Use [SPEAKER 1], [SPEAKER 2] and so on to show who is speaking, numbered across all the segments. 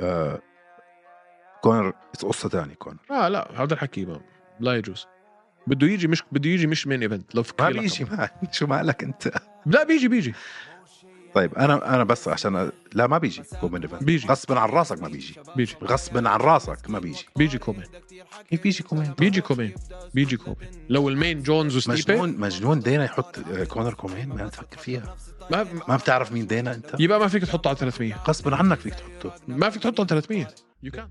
[SPEAKER 1] آه كونر قصه ثانيه كونر
[SPEAKER 2] اه لا هذا الحكي ما لا يجوز بده يجي مش بده يجي مش مين ايفنت لو
[SPEAKER 1] ما
[SPEAKER 2] فكر لك.
[SPEAKER 1] بيجي معي شو مالك انت
[SPEAKER 2] لا بيجي بيجي
[SPEAKER 1] طيب انا انا بس عشان لا ما بيجي كومن ايفنت
[SPEAKER 2] بيجي.
[SPEAKER 1] غصبا عن راسك ما بيجي
[SPEAKER 2] بيجي
[SPEAKER 1] غصبا عن راسك ما بيجي
[SPEAKER 2] بيجي كومين
[SPEAKER 1] كيف بيجي كومين
[SPEAKER 2] بيجي كومين بيجي كومين لو المين جونز وستيبي
[SPEAKER 1] مجنون مجنون دينا يحط آه، كونر كومين ما تفكر فيها
[SPEAKER 2] ما
[SPEAKER 1] ما بتعرف مين دينا انت
[SPEAKER 2] يبقى ما فيك تحطه على 300
[SPEAKER 1] غصبا عنك فيك تحطه
[SPEAKER 2] ما فيك تحطه على 300 يو كان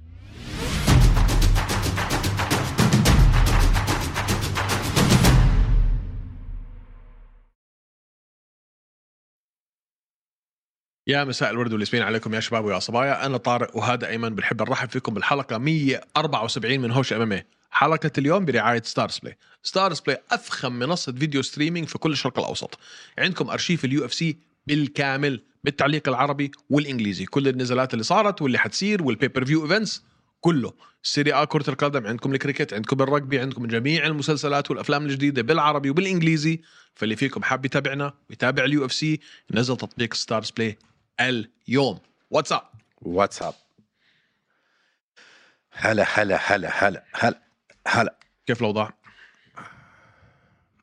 [SPEAKER 2] يا مساء الورد والياسمين عليكم يا شباب ويا صبايا انا طارق وهذا ايمن بنحب نرحب فيكم بالحلقه 174 من هوش ام حلقه اليوم برعايه ستارز بلاي ستارز بلاي افخم منصه فيديو ستريمينج في كل الشرق الاوسط عندكم ارشيف اليو اف سي بالكامل بالتعليق العربي والانجليزي كل النزالات اللي صارت واللي حتصير والبي بير فيو ايفنتس كله سيري ا كره القدم عندكم الكريكت عندكم الرugby عندكم جميع المسلسلات والافلام الجديده بالعربي وبالانجليزي فاللي فيكم حاب يتابعنا ويتابع اليو اف سي نزل تطبيق ستارز بلاي اليوم واتساب
[SPEAKER 1] واتساب هلا هلا هلا هلا هلا هلا
[SPEAKER 2] كيف الاوضاع؟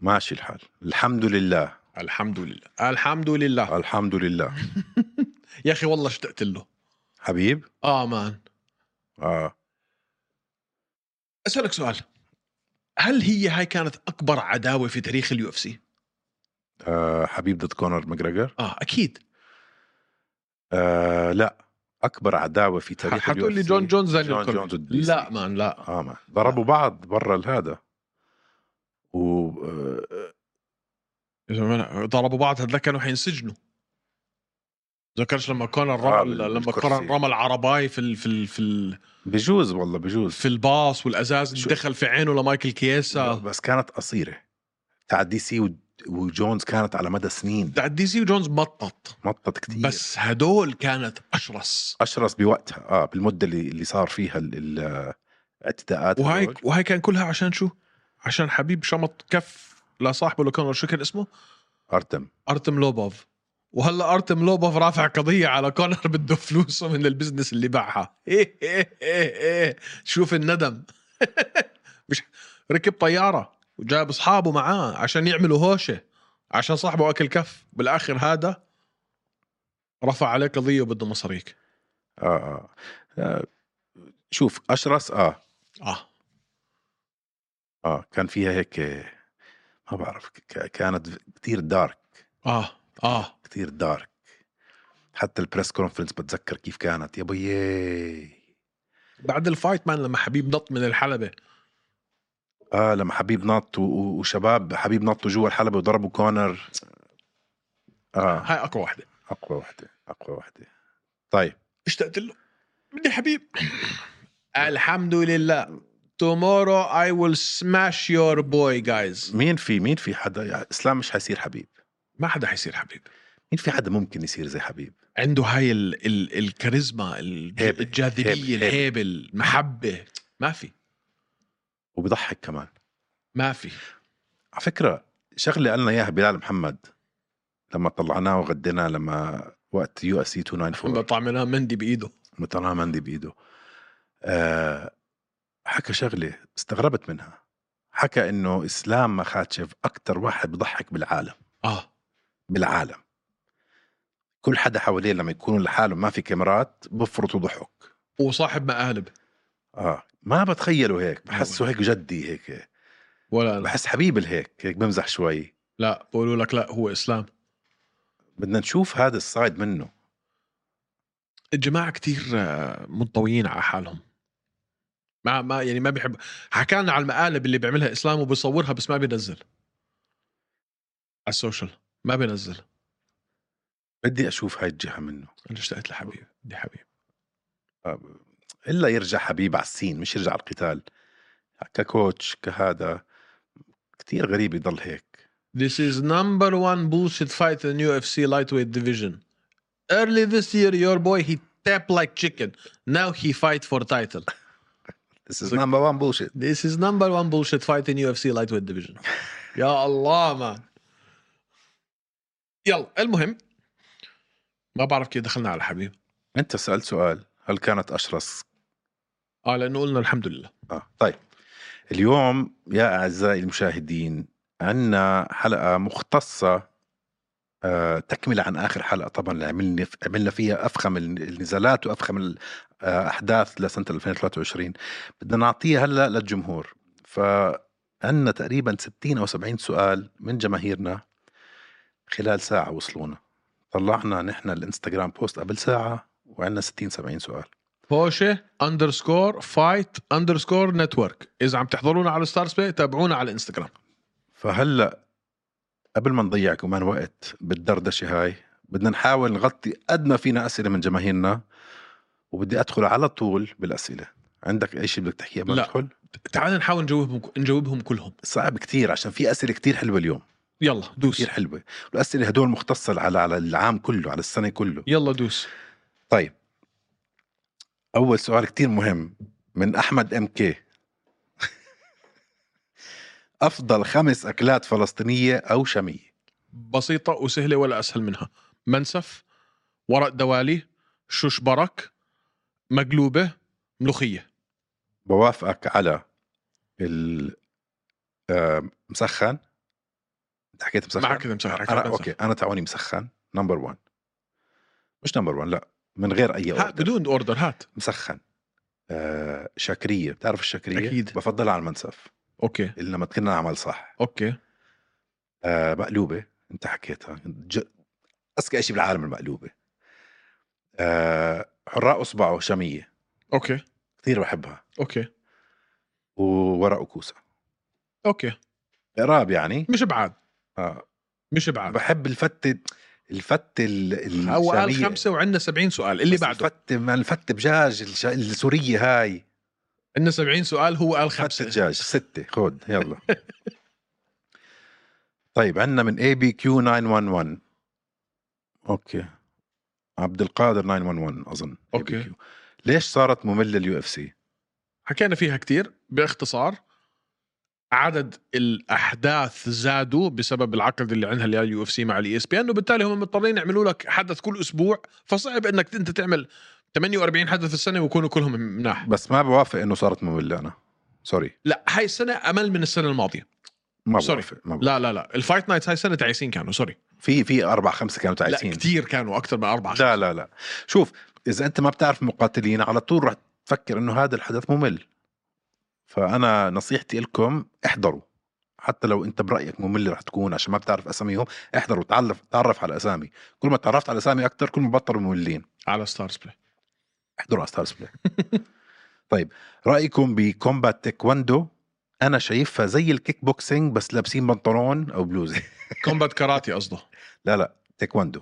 [SPEAKER 1] ماشي الحال الحمد لله
[SPEAKER 2] الحمد لله الحمد لله
[SPEAKER 1] الحمد لله
[SPEAKER 2] يا اخي والله اشتقت له
[SPEAKER 1] حبيب
[SPEAKER 2] اه مان
[SPEAKER 1] اه
[SPEAKER 2] اسالك سؤال هل هي هاي كانت اكبر عداوه في تاريخ اليو اف سي؟
[SPEAKER 1] آه، حبيب ضد كونر ماجريجر
[SPEAKER 2] اه اكيد
[SPEAKER 1] آه لا اكبر عداوه في تاريخ
[SPEAKER 2] حتقول لي
[SPEAKER 1] UFC.
[SPEAKER 2] جون آه. جونز دانيال
[SPEAKER 1] جون
[SPEAKER 2] كورمي.
[SPEAKER 1] جونز ضد DC.
[SPEAKER 2] لا مان لا
[SPEAKER 1] اه ما ضربوا بعض برا الهذا و آه،
[SPEAKER 2] يا زلمة ضربوا بعض هذول كانوا حينسجنوا ذكرش لما كونر
[SPEAKER 1] آه،
[SPEAKER 2] رمى
[SPEAKER 1] بال-
[SPEAKER 2] لما
[SPEAKER 1] بالكرسي.
[SPEAKER 2] كونر رمى العرباي في ال في ال في, ال
[SPEAKER 1] بجوز والله بجوز
[SPEAKER 2] في الباص والازاز اللي
[SPEAKER 1] شو-
[SPEAKER 2] دخل في عينه لمايكل كيسا
[SPEAKER 1] بس كانت قصيره تاع دي سي و- وجونز كانت على مدى سنين
[SPEAKER 2] بتاع دي سي وجونز مطط
[SPEAKER 1] مطت كتير
[SPEAKER 2] بس هدول كانت اشرس
[SPEAKER 1] اشرس بوقتها اه بالمده اللي اللي صار فيها ال- ال- الاعتداءات
[SPEAKER 2] وهاي
[SPEAKER 1] هذول.
[SPEAKER 2] وهاي كان كلها عشان شو؟ عشان حبيب شمط كف لصاحبه لكونر شو كان اسمه؟
[SPEAKER 1] ارتم
[SPEAKER 2] ارتم لوبوف وهلا ارتم لوبوف رافع قضيه على كونر بده فلوسه من البزنس اللي باعها إيه إيه إيه إيه. شوف الندم مش ركب طياره وجاب اصحابه معاه عشان يعملوا هوشه عشان صاحبه اكل كف بالاخر هذا رفع عليه قضيه وبده مصاريك
[SPEAKER 1] آه, آه. اه شوف اشرس اه
[SPEAKER 2] اه
[SPEAKER 1] اه كان فيها هيك آه، ما بعرف ك- كانت كتير دارك
[SPEAKER 2] اه اه
[SPEAKER 1] كتير دارك حتى البريس كونفرنس بتذكر كيف كانت يا بيي
[SPEAKER 2] بعد الفايت مان لما حبيب نط من الحلبه
[SPEAKER 1] اه لما حبيب نط و- و- وشباب حبيب نطوا جوا الحلبه وضربوا كونر اه
[SPEAKER 2] هاي اقوى واحده
[SPEAKER 1] اقوى وحده اقوى وحده طيب
[SPEAKER 2] اشتقت له بدي حبيب الحمد لله tomorrow I will smash your boy guys
[SPEAKER 1] مين في مين في حدا يعني اسلام مش حيصير حبيب
[SPEAKER 2] ما حدا حيصير حبيب
[SPEAKER 1] مين في حدا ممكن يصير زي حبيب
[SPEAKER 2] عنده هاي ال ال الكاريزما ال-
[SPEAKER 1] هيبة.
[SPEAKER 2] الجاذبية
[SPEAKER 1] هيبة.
[SPEAKER 2] الهيبة المحبة ما في
[SPEAKER 1] وبضحك كمان
[SPEAKER 2] ما في
[SPEAKER 1] على فكره شغله قالنا اياها بلال محمد لما طلعناه وغديناه لما وقت يو اس سي 294
[SPEAKER 2] طعمنا مندي بإيده
[SPEAKER 1] مطلع مندي بايده آه حكى شغله استغربت منها حكى انه اسلام مخاتشف اكثر واحد بضحك بالعالم
[SPEAKER 2] اه
[SPEAKER 1] بالعالم كل حدا حواليه لما يكونوا لحالهم ما في كاميرات بفرطوا ضحك
[SPEAKER 2] وصاحب مقالب
[SPEAKER 1] اه ما بتخيله هيك بحسه هيك جدي هيك
[SPEAKER 2] ولا أنا.
[SPEAKER 1] بحس حبيب الهيك هيك بمزح شوي
[SPEAKER 2] لا بقولوا لك لا هو إسلام
[SPEAKER 1] بدنا نشوف هذا الصايد منه
[SPEAKER 2] الجماعة كتير آه، منطويين على حالهم ما ما يعني ما بيحب حكالنا على المقالب اللي بيعملها اسلام وبيصورها بس ما بينزل على السوشيال ما بينزل
[SPEAKER 1] بدي اشوف هاي الجهه منه
[SPEAKER 2] انا اشتقت لحبيب بدي حبيب
[SPEAKER 1] آه، الا يرجع حبيب على السين مش يرجع على القتال ككوتش كهذا كتير غريب يضل هيك
[SPEAKER 2] This is number one bullshit fight in UFC lightweight division. Early this year, your boy he tapped like chicken. Now he fight for title.
[SPEAKER 1] This is number one bullshit
[SPEAKER 2] This is number one bullshit fight in UFC lightweight division. يا الله ما يلا المهم ما بعرف كيف دخلنا على حبيب
[SPEAKER 1] انت سالت سؤال هل كانت اشرس
[SPEAKER 2] اه لانه قلنا الحمد لله
[SPEAKER 1] آه. طيب اليوم يا أعزائي المشاهدين عنا حلقة مختصة آه، تكملة عن آخر حلقة طبعا اللي عملنا عملنا فيها أفخم النزالات وأفخم الأحداث لسنة 2023 بدنا نعطيها هلا للجمهور فعنا تقريبا 60 أو 70 سؤال من جماهيرنا خلال ساعة وصلونا طلعنا نحن الانستغرام بوست قبل ساعة وعندنا 60 70 سؤال
[SPEAKER 2] بوشه اندرسكور فايت اندرسكور نتورك اذا عم تحضرونا على ستارز بلاي تابعونا على الانستغرام
[SPEAKER 1] فهلا قبل ما نضيع كمان وقت بالدردشه هاي بدنا نحاول نغطي قد ما فينا اسئله من جماهيرنا وبدي ادخل على طول بالاسئله عندك اي شيء بدك تحكيه قبل ما
[SPEAKER 2] لا.
[SPEAKER 1] ندخل
[SPEAKER 2] تعال نحاول نجاوبهم نجاوبهم كلهم
[SPEAKER 1] صعب كتير عشان في اسئله كتير حلوه اليوم
[SPEAKER 2] يلا دوس
[SPEAKER 1] كتير حلوه الاسئله هدول مختصه على على العام كله على السنه كله
[SPEAKER 2] يلا دوس
[SPEAKER 1] طيب اول سؤال كتير مهم من احمد ام كي افضل خمس اكلات فلسطينيه او شاميه
[SPEAKER 2] بسيطه وسهله ولا اسهل منها منسف ورق دوالي شوش برك مقلوبه ملوخيه
[SPEAKER 1] بوافقك على ال آه، مسخن انت حكيت مسخن
[SPEAKER 2] معك كذا مسكر
[SPEAKER 1] انا اوكي انا تعوني مسخن نمبر 1 مش نمبر 1 لا من غير اي
[SPEAKER 2] هات
[SPEAKER 1] اوردر
[SPEAKER 2] بدون اوردر هات
[SPEAKER 1] مسخن آه شاكريه بتعرف الشاكريه
[SPEAKER 2] أكيد.
[SPEAKER 1] بفضلها على المنسف
[SPEAKER 2] اوكي
[SPEAKER 1] إلا لما تكون عمل صح
[SPEAKER 2] اوكي
[SPEAKER 1] آه مقلوبه انت حكيتها ج... اذكى شيء بالعالم المقلوبه آه حراء اصبعه شاميه
[SPEAKER 2] اوكي
[SPEAKER 1] كثير بحبها
[SPEAKER 2] اوكي
[SPEAKER 1] وورق وكوسه
[SPEAKER 2] اوكي
[SPEAKER 1] قراب يعني
[SPEAKER 2] مش بعاد
[SPEAKER 1] آه
[SPEAKER 2] مش بعاد
[SPEAKER 1] بحب الفتة الفتة ال- ال-
[SPEAKER 2] هو قال
[SPEAKER 1] الشامية.
[SPEAKER 2] خمسه وعندنا 70 سؤال اللي
[SPEAKER 1] يعني بس
[SPEAKER 2] بعده
[SPEAKER 1] الفتة ما الفتة بجاج الش- السورية هاي
[SPEAKER 2] عندنا 70 سؤال هو قال
[SPEAKER 1] فتة
[SPEAKER 2] خمسه
[SPEAKER 1] دجاج ستة خود يلا طيب عندنا من اي بي كيو 911 اوكي عبد القادر 911 اظن
[SPEAKER 2] أوكي.
[SPEAKER 1] ABQ. ليش صارت مملة اليو اف سي؟
[SPEAKER 2] حكينا فيها كتير باختصار عدد الاحداث زادوا بسبب العقد اللي عندها اليو اف سي مع الاي اس بي ان وبالتالي هم مضطرين يعملوا لك حدث كل اسبوع فصعب انك انت تعمل 48 حدث السنه ويكونوا كلهم مناح
[SPEAKER 1] بس ما بوافق انه صارت مملة انا سوري
[SPEAKER 2] لا هاي السنه امل من السنه الماضيه
[SPEAKER 1] ما
[SPEAKER 2] سوري.
[SPEAKER 1] بوافق ما بوافق.
[SPEAKER 2] لا لا لا الفايت نايتس هاي السنه تعيسين كانوا سوري
[SPEAKER 1] في في اربع خمسة كانوا
[SPEAKER 2] لا
[SPEAKER 1] تعيسين
[SPEAKER 2] كتير كانوا اكثر من اربعه
[SPEAKER 1] لا لا لا شوف اذا انت ما بتعرف مقاتلين على طول رح تفكر انه هذا الحدث ممل فانا نصيحتي لكم احضروا حتى لو انت برايك ممل رح تكون عشان ما بتعرف اساميهم احضروا تعرف تعرف على اسامي كل ما تعرفت على اسامي اكثر كل ما بطلوا مملين
[SPEAKER 2] على ستارز بلاي
[SPEAKER 1] احضروا على ستارز بلاي طيب رايكم بكومبات تيكواندو انا شايفها زي الكيك بوكسينج بس لابسين بنطلون او بلوزه
[SPEAKER 2] كومبات كاراتي قصده
[SPEAKER 1] لا لا تيكواندو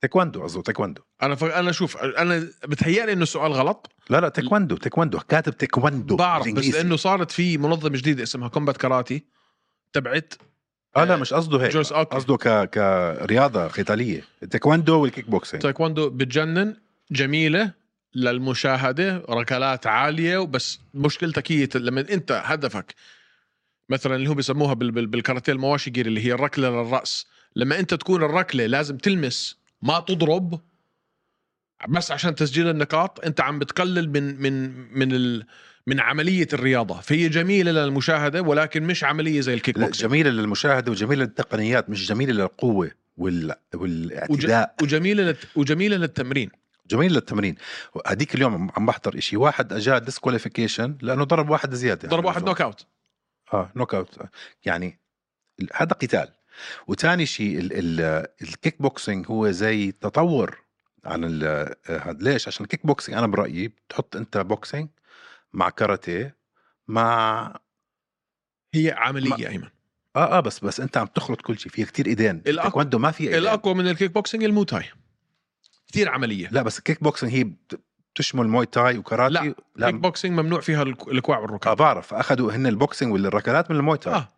[SPEAKER 1] تيكواندو قصده تيكواندو
[SPEAKER 2] انا ف... انا شوف انا بتهيألي انه السؤال غلط
[SPEAKER 1] لا لا تيكواندو تيكواندو كاتب تيكواندو
[SPEAKER 2] بعرف بس
[SPEAKER 1] بالإنجليزي.
[SPEAKER 2] لانه صارت في منظمه جديده اسمها كومبات كاراتي تبعت
[SPEAKER 1] اه لا مش قصده هيك
[SPEAKER 2] جوز اوكي
[SPEAKER 1] قصده ك كرياضه قتاليه التايكواندو والكيك بوكسينج
[SPEAKER 2] تايكوندو بتجنن جميله للمشاهده ركلات عاليه وبس مشكلتك هي لما انت هدفك مثلا اللي هم بيسموها بال- بال- بالكاراتيه المواشي جير اللي هي الركله للراس لما انت تكون الركله لازم تلمس ما تضرب بس عشان تسجيل النقاط انت عم بتقلل من من من ال من عمليه الرياضه فهي جميله للمشاهده ولكن مش عمليه زي الكيك
[SPEAKER 1] لا،
[SPEAKER 2] بوكس
[SPEAKER 1] جميله للمشاهده وجميله للتقنيات مش جميله للقوه وال... والاعتداء
[SPEAKER 2] وجميله للت... وجميله للتمرين
[SPEAKER 1] جميله للتمرين هديك اليوم عم- عم بحضر إشي واحد اجاه ديسكواليفيكيشن لانه ضرب واحد زياده
[SPEAKER 2] ضرب واحد
[SPEAKER 1] نوك
[SPEAKER 2] نوك اوت
[SPEAKER 1] اه نوك اوت يعني ال- هذا قتال وثاني شيء ال... ال... الكيك بوكسينج هو زي تطور عن ال... آه، هاد ليش عشان الكيك بوكسينج انا برايي بتحط انت بوكسينج مع كاراتيه مع
[SPEAKER 2] هي عمليه
[SPEAKER 1] ما-
[SPEAKER 2] ايمن
[SPEAKER 1] اه اه بس بس انت عم تخلط كل شيء في كتير ايدين
[SPEAKER 2] الأقوى-
[SPEAKER 1] التايكوندو ما في ايدين
[SPEAKER 2] الاقوى من الكيك بوكسينج الموتاي كثير عمليه
[SPEAKER 1] لا بس الكيك بوكسينج هي بت- بتشمل موي تاي وكاراتي
[SPEAKER 2] لا، الكيك بوكسينج ممنوع فيها الك- الكوع
[SPEAKER 1] آه
[SPEAKER 2] والركاب
[SPEAKER 1] بعرف اخذوا هن البوكسينج ولا الركلات من الموي تاي
[SPEAKER 2] آه.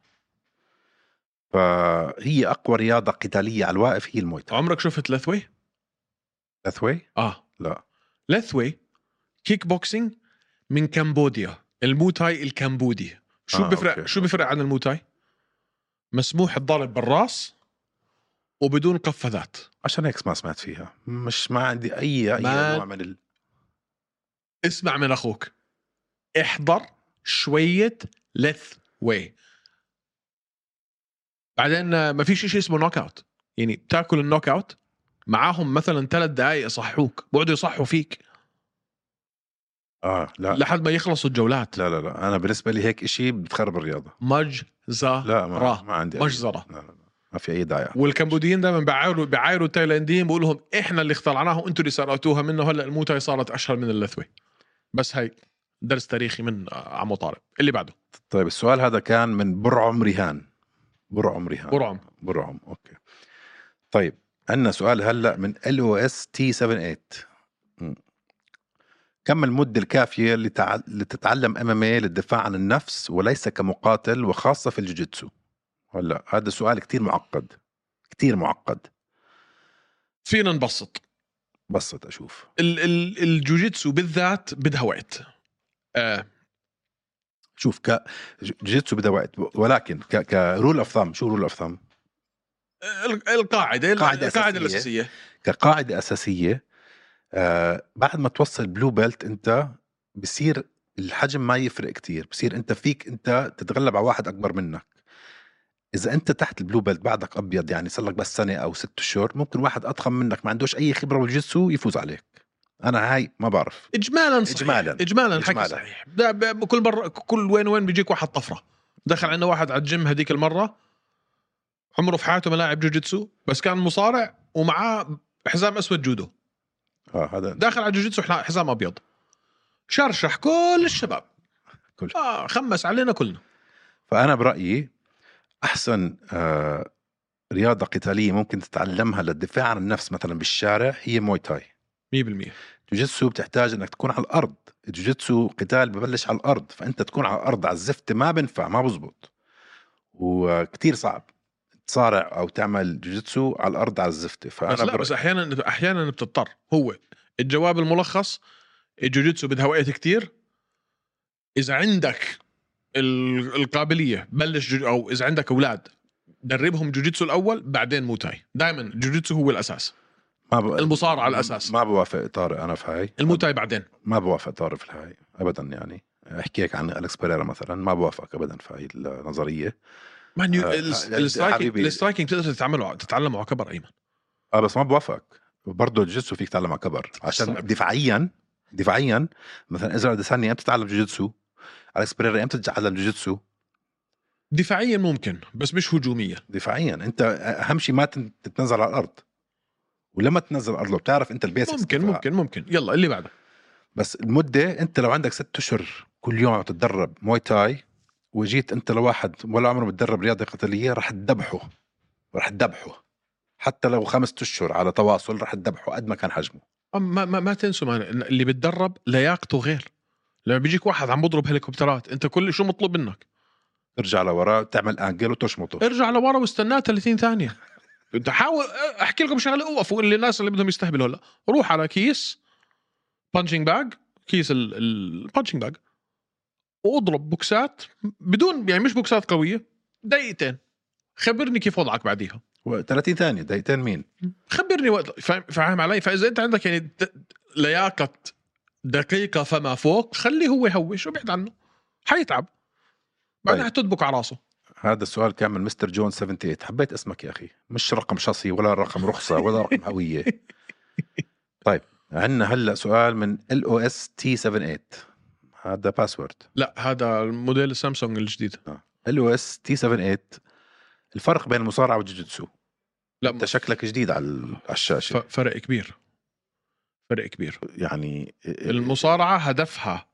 [SPEAKER 1] فهي اقوى رياضه قتاليه على الواقف هي الموي تاي
[SPEAKER 2] عمرك شفت لثوي
[SPEAKER 1] لاثوي
[SPEAKER 2] اه
[SPEAKER 1] لا
[SPEAKER 2] لثوي كيك بوكسينج من كمبوديا الموتاي الكمبودي شو
[SPEAKER 1] آه،
[SPEAKER 2] آه بيفرق
[SPEAKER 1] أوكي.
[SPEAKER 2] شو بيفرق عن الموتاي مسموح الضرب بالراس وبدون قفازات
[SPEAKER 1] عشان هيك ما سمعت فيها مش ما عندي اي اي
[SPEAKER 2] ما-
[SPEAKER 1] نوع من ال...
[SPEAKER 2] اسمع من اخوك احضر شويه لث واي بعدين آه، ما فيش شيء اسمه نوك اوت يعني بتاكل النوك اوت معاهم مثلا ثلاث دقائق يصحوك بقعدوا يصحوا فيك
[SPEAKER 1] اه لا لا
[SPEAKER 2] لحد ما يخلصوا الجولات
[SPEAKER 1] لا, لا, لا. انا بالنسبه لي هيك إشي بتخرب الرياضه
[SPEAKER 2] مجزرة
[SPEAKER 1] لا ما,
[SPEAKER 2] راه.
[SPEAKER 1] ما عندي أي-
[SPEAKER 2] مجزرة
[SPEAKER 1] لا لا لا ما في اي داعي
[SPEAKER 2] والكمبوديين دائما بيعايروا بيعايروا التايلانديين بيقول لهم احنا اللي اخترعناها وانتوا اللي سرقتوها منه هلا الموتاي صارت اشهر من اللثوي بس هاي درس تاريخي من آه، عمو طارق اللي بعده
[SPEAKER 1] طيب السؤال هذا كان من برعم رهان برعم رهان
[SPEAKER 2] برعم
[SPEAKER 1] برعم اوكي طيب عندنا سؤال هلا من ال او اس تي 78 كم المدة الكافية لتع... لتتعلم ام ام للدفاع عن النفس وليس كمقاتل وخاصة في الجوجيتسو؟ هلا هذا سؤال كتير معقد كتير معقد
[SPEAKER 2] فينا نبسط
[SPEAKER 1] بسط اشوف
[SPEAKER 2] ال- ال- الجوجيتسو بالذات بدها وقت آه
[SPEAKER 1] شوف ك جوجيتسو بدها وقت ولكن ك كرول اوف ثام شو رول اوف ثام؟
[SPEAKER 2] ال-
[SPEAKER 1] قاعدة
[SPEAKER 2] القاعده القاعده, القاعدة
[SPEAKER 1] أساسية.
[SPEAKER 2] الاساسيه
[SPEAKER 1] كقاعدة أساسية آه بعد ما توصل بلو بيلت أنت بصير الحجم ما يفرق كتير بصير أنت فيك أنت تتغلب على واحد أكبر منك إذا أنت تحت البلو بيلت بعدك أبيض يعني صار لك بس سنة أو ست أشهر ممكن واحد أضخم منك ما عندوش أي خبرة بالجيتسو يفوز عليك أنا هاي ما بعرف
[SPEAKER 2] اجمالا صحيح
[SPEAKER 1] إجمالاً.
[SPEAKER 2] اجمالا حكي
[SPEAKER 1] إجمالاً.
[SPEAKER 2] صحيح ده ب- بكل مره كل وين وين بيجيك واحد طفره دخل عندنا واحد على الجيم هذيك المره عمره في حياته ما لاعب جوجيتسو بس كان مصارع ومعاه حزام اسود جودو
[SPEAKER 1] آه هذا
[SPEAKER 2] داخل على جوجيتسو إحنا حزام ابيض شرشح كل الشباب
[SPEAKER 1] كل.
[SPEAKER 2] آه خمس علينا كلنا
[SPEAKER 1] فأنا برأيي أحسن آه رياضة قتالية ممكن تتعلمها للدفاع عن النفس مثلا بالشارع هي موي تاي
[SPEAKER 2] 100%
[SPEAKER 1] جوجيتسو بتحتاج انك تكون على الارض الجوجيتسو قتال ببلش على الارض فانت تكون على الارض على الزفت ما بنفع ما بزبط وكتير صعب تصارع او تعمل جوجيتسو على الارض على الزفت
[SPEAKER 2] بس
[SPEAKER 1] فانا
[SPEAKER 2] لا
[SPEAKER 1] بر...
[SPEAKER 2] بس احيانا احيانا بتضطر هو الجواب الملخص الجوجيتسو بدها وقت كتير اذا عندك ال- القابليه بلش جو او اذا عندك اولاد دربهم جوجيتسو الاول بعدين موتاي دائما جوجيتسو هو الاساس
[SPEAKER 1] ما ب...
[SPEAKER 2] المصارعة على الأساس.
[SPEAKER 1] ما بوافق طارق انا في هاي
[SPEAKER 2] الموتاي بعدين
[SPEAKER 1] ما بوافق طارق في هاي ابدا يعني احكي هيك عن الكس بيريرا مثلا ما بوافق ابدا في هاي النظريه
[SPEAKER 2] مان يو
[SPEAKER 1] آه،
[SPEAKER 2] ال-
[SPEAKER 1] آه،
[SPEAKER 2] السترايكنج
[SPEAKER 1] حبيبي.
[SPEAKER 2] السترايكنج بتقدر تتعمله تتعلمه على كبر ايمن
[SPEAKER 1] اه بس ما بوافق برضه الجوجيتسو فيك تتعلم على كبر عشان
[SPEAKER 2] صعب.
[SPEAKER 1] دفاعيا دفاعيا مثلا ازرع ديسانيا امتى تتعلم جوجيتسو الكس بيريرا امتى تتعلم جوجيتسو
[SPEAKER 2] دفاعيا ممكن بس مش هجوميا
[SPEAKER 1] دفاعيا انت اهم شيء ما تن- تتنزل على الارض ولما تنزل على الارض لو بتعرف انت البيسكس
[SPEAKER 2] ممكن
[SPEAKER 1] تبعها.
[SPEAKER 2] ممكن ممكن يلا اللي بعده
[SPEAKER 1] بس المده انت لو عندك ست اشهر كل يوم عم تتدرب موي تاي وجيت انت لواحد ولا عمره متدرب رياضه قتاليه رح تدبحه رح تدبحه حتى لو خمسة اشهر على تواصل رح تدبحه قد ما كان حجمه
[SPEAKER 2] أم- ما ما, ما تنسوا مان إن اللي بتدرب لياقته غير لما بيجيك واحد عم بضرب هليكوبترات انت كل شو مطلوب منك
[SPEAKER 1] ترجع لورا تعمل انجل وتشمطه
[SPEAKER 2] ارجع لورا واستناه 30 ثانيه انت حاول احكي لكم شغله اوقفوا اللي الناس اللي بدهم يستهبلوا هلا روح على كيس بانشنج باج كيس البانشنج باج واضرب بوكسات بدون يعني مش بوكسات قويه دقيقتين خبرني كيف وضعك بعديها
[SPEAKER 1] 30 ثانيه دقيقتين مين
[SPEAKER 2] خبرني وقت فاهم, فاهم علي فاذا انت عندك يعني د- لياقه دقيقه فما فوق خليه هو يهوش وابعد عنه حيتعب بعدها
[SPEAKER 1] طيب.
[SPEAKER 2] تدبك على راسه
[SPEAKER 1] هذا السؤال كان من مستر جون 78 حبيت اسمك يا اخي مش رقم شخصي ولا رقم رخصه ولا رقم هويه طيب عندنا هلا سؤال من ال او اس تي 78 هذا باسورد
[SPEAKER 2] لا هذا الموديل سامسونج الجديد
[SPEAKER 1] ال او اس تي 78 الفرق بين المصارعه والجوجيتسو
[SPEAKER 2] لا
[SPEAKER 1] انت شكلك جديد على ال- على
[SPEAKER 2] ف-
[SPEAKER 1] الشاشه
[SPEAKER 2] فرق كبير فرق كبير
[SPEAKER 1] يعني
[SPEAKER 2] المصارعه هدفها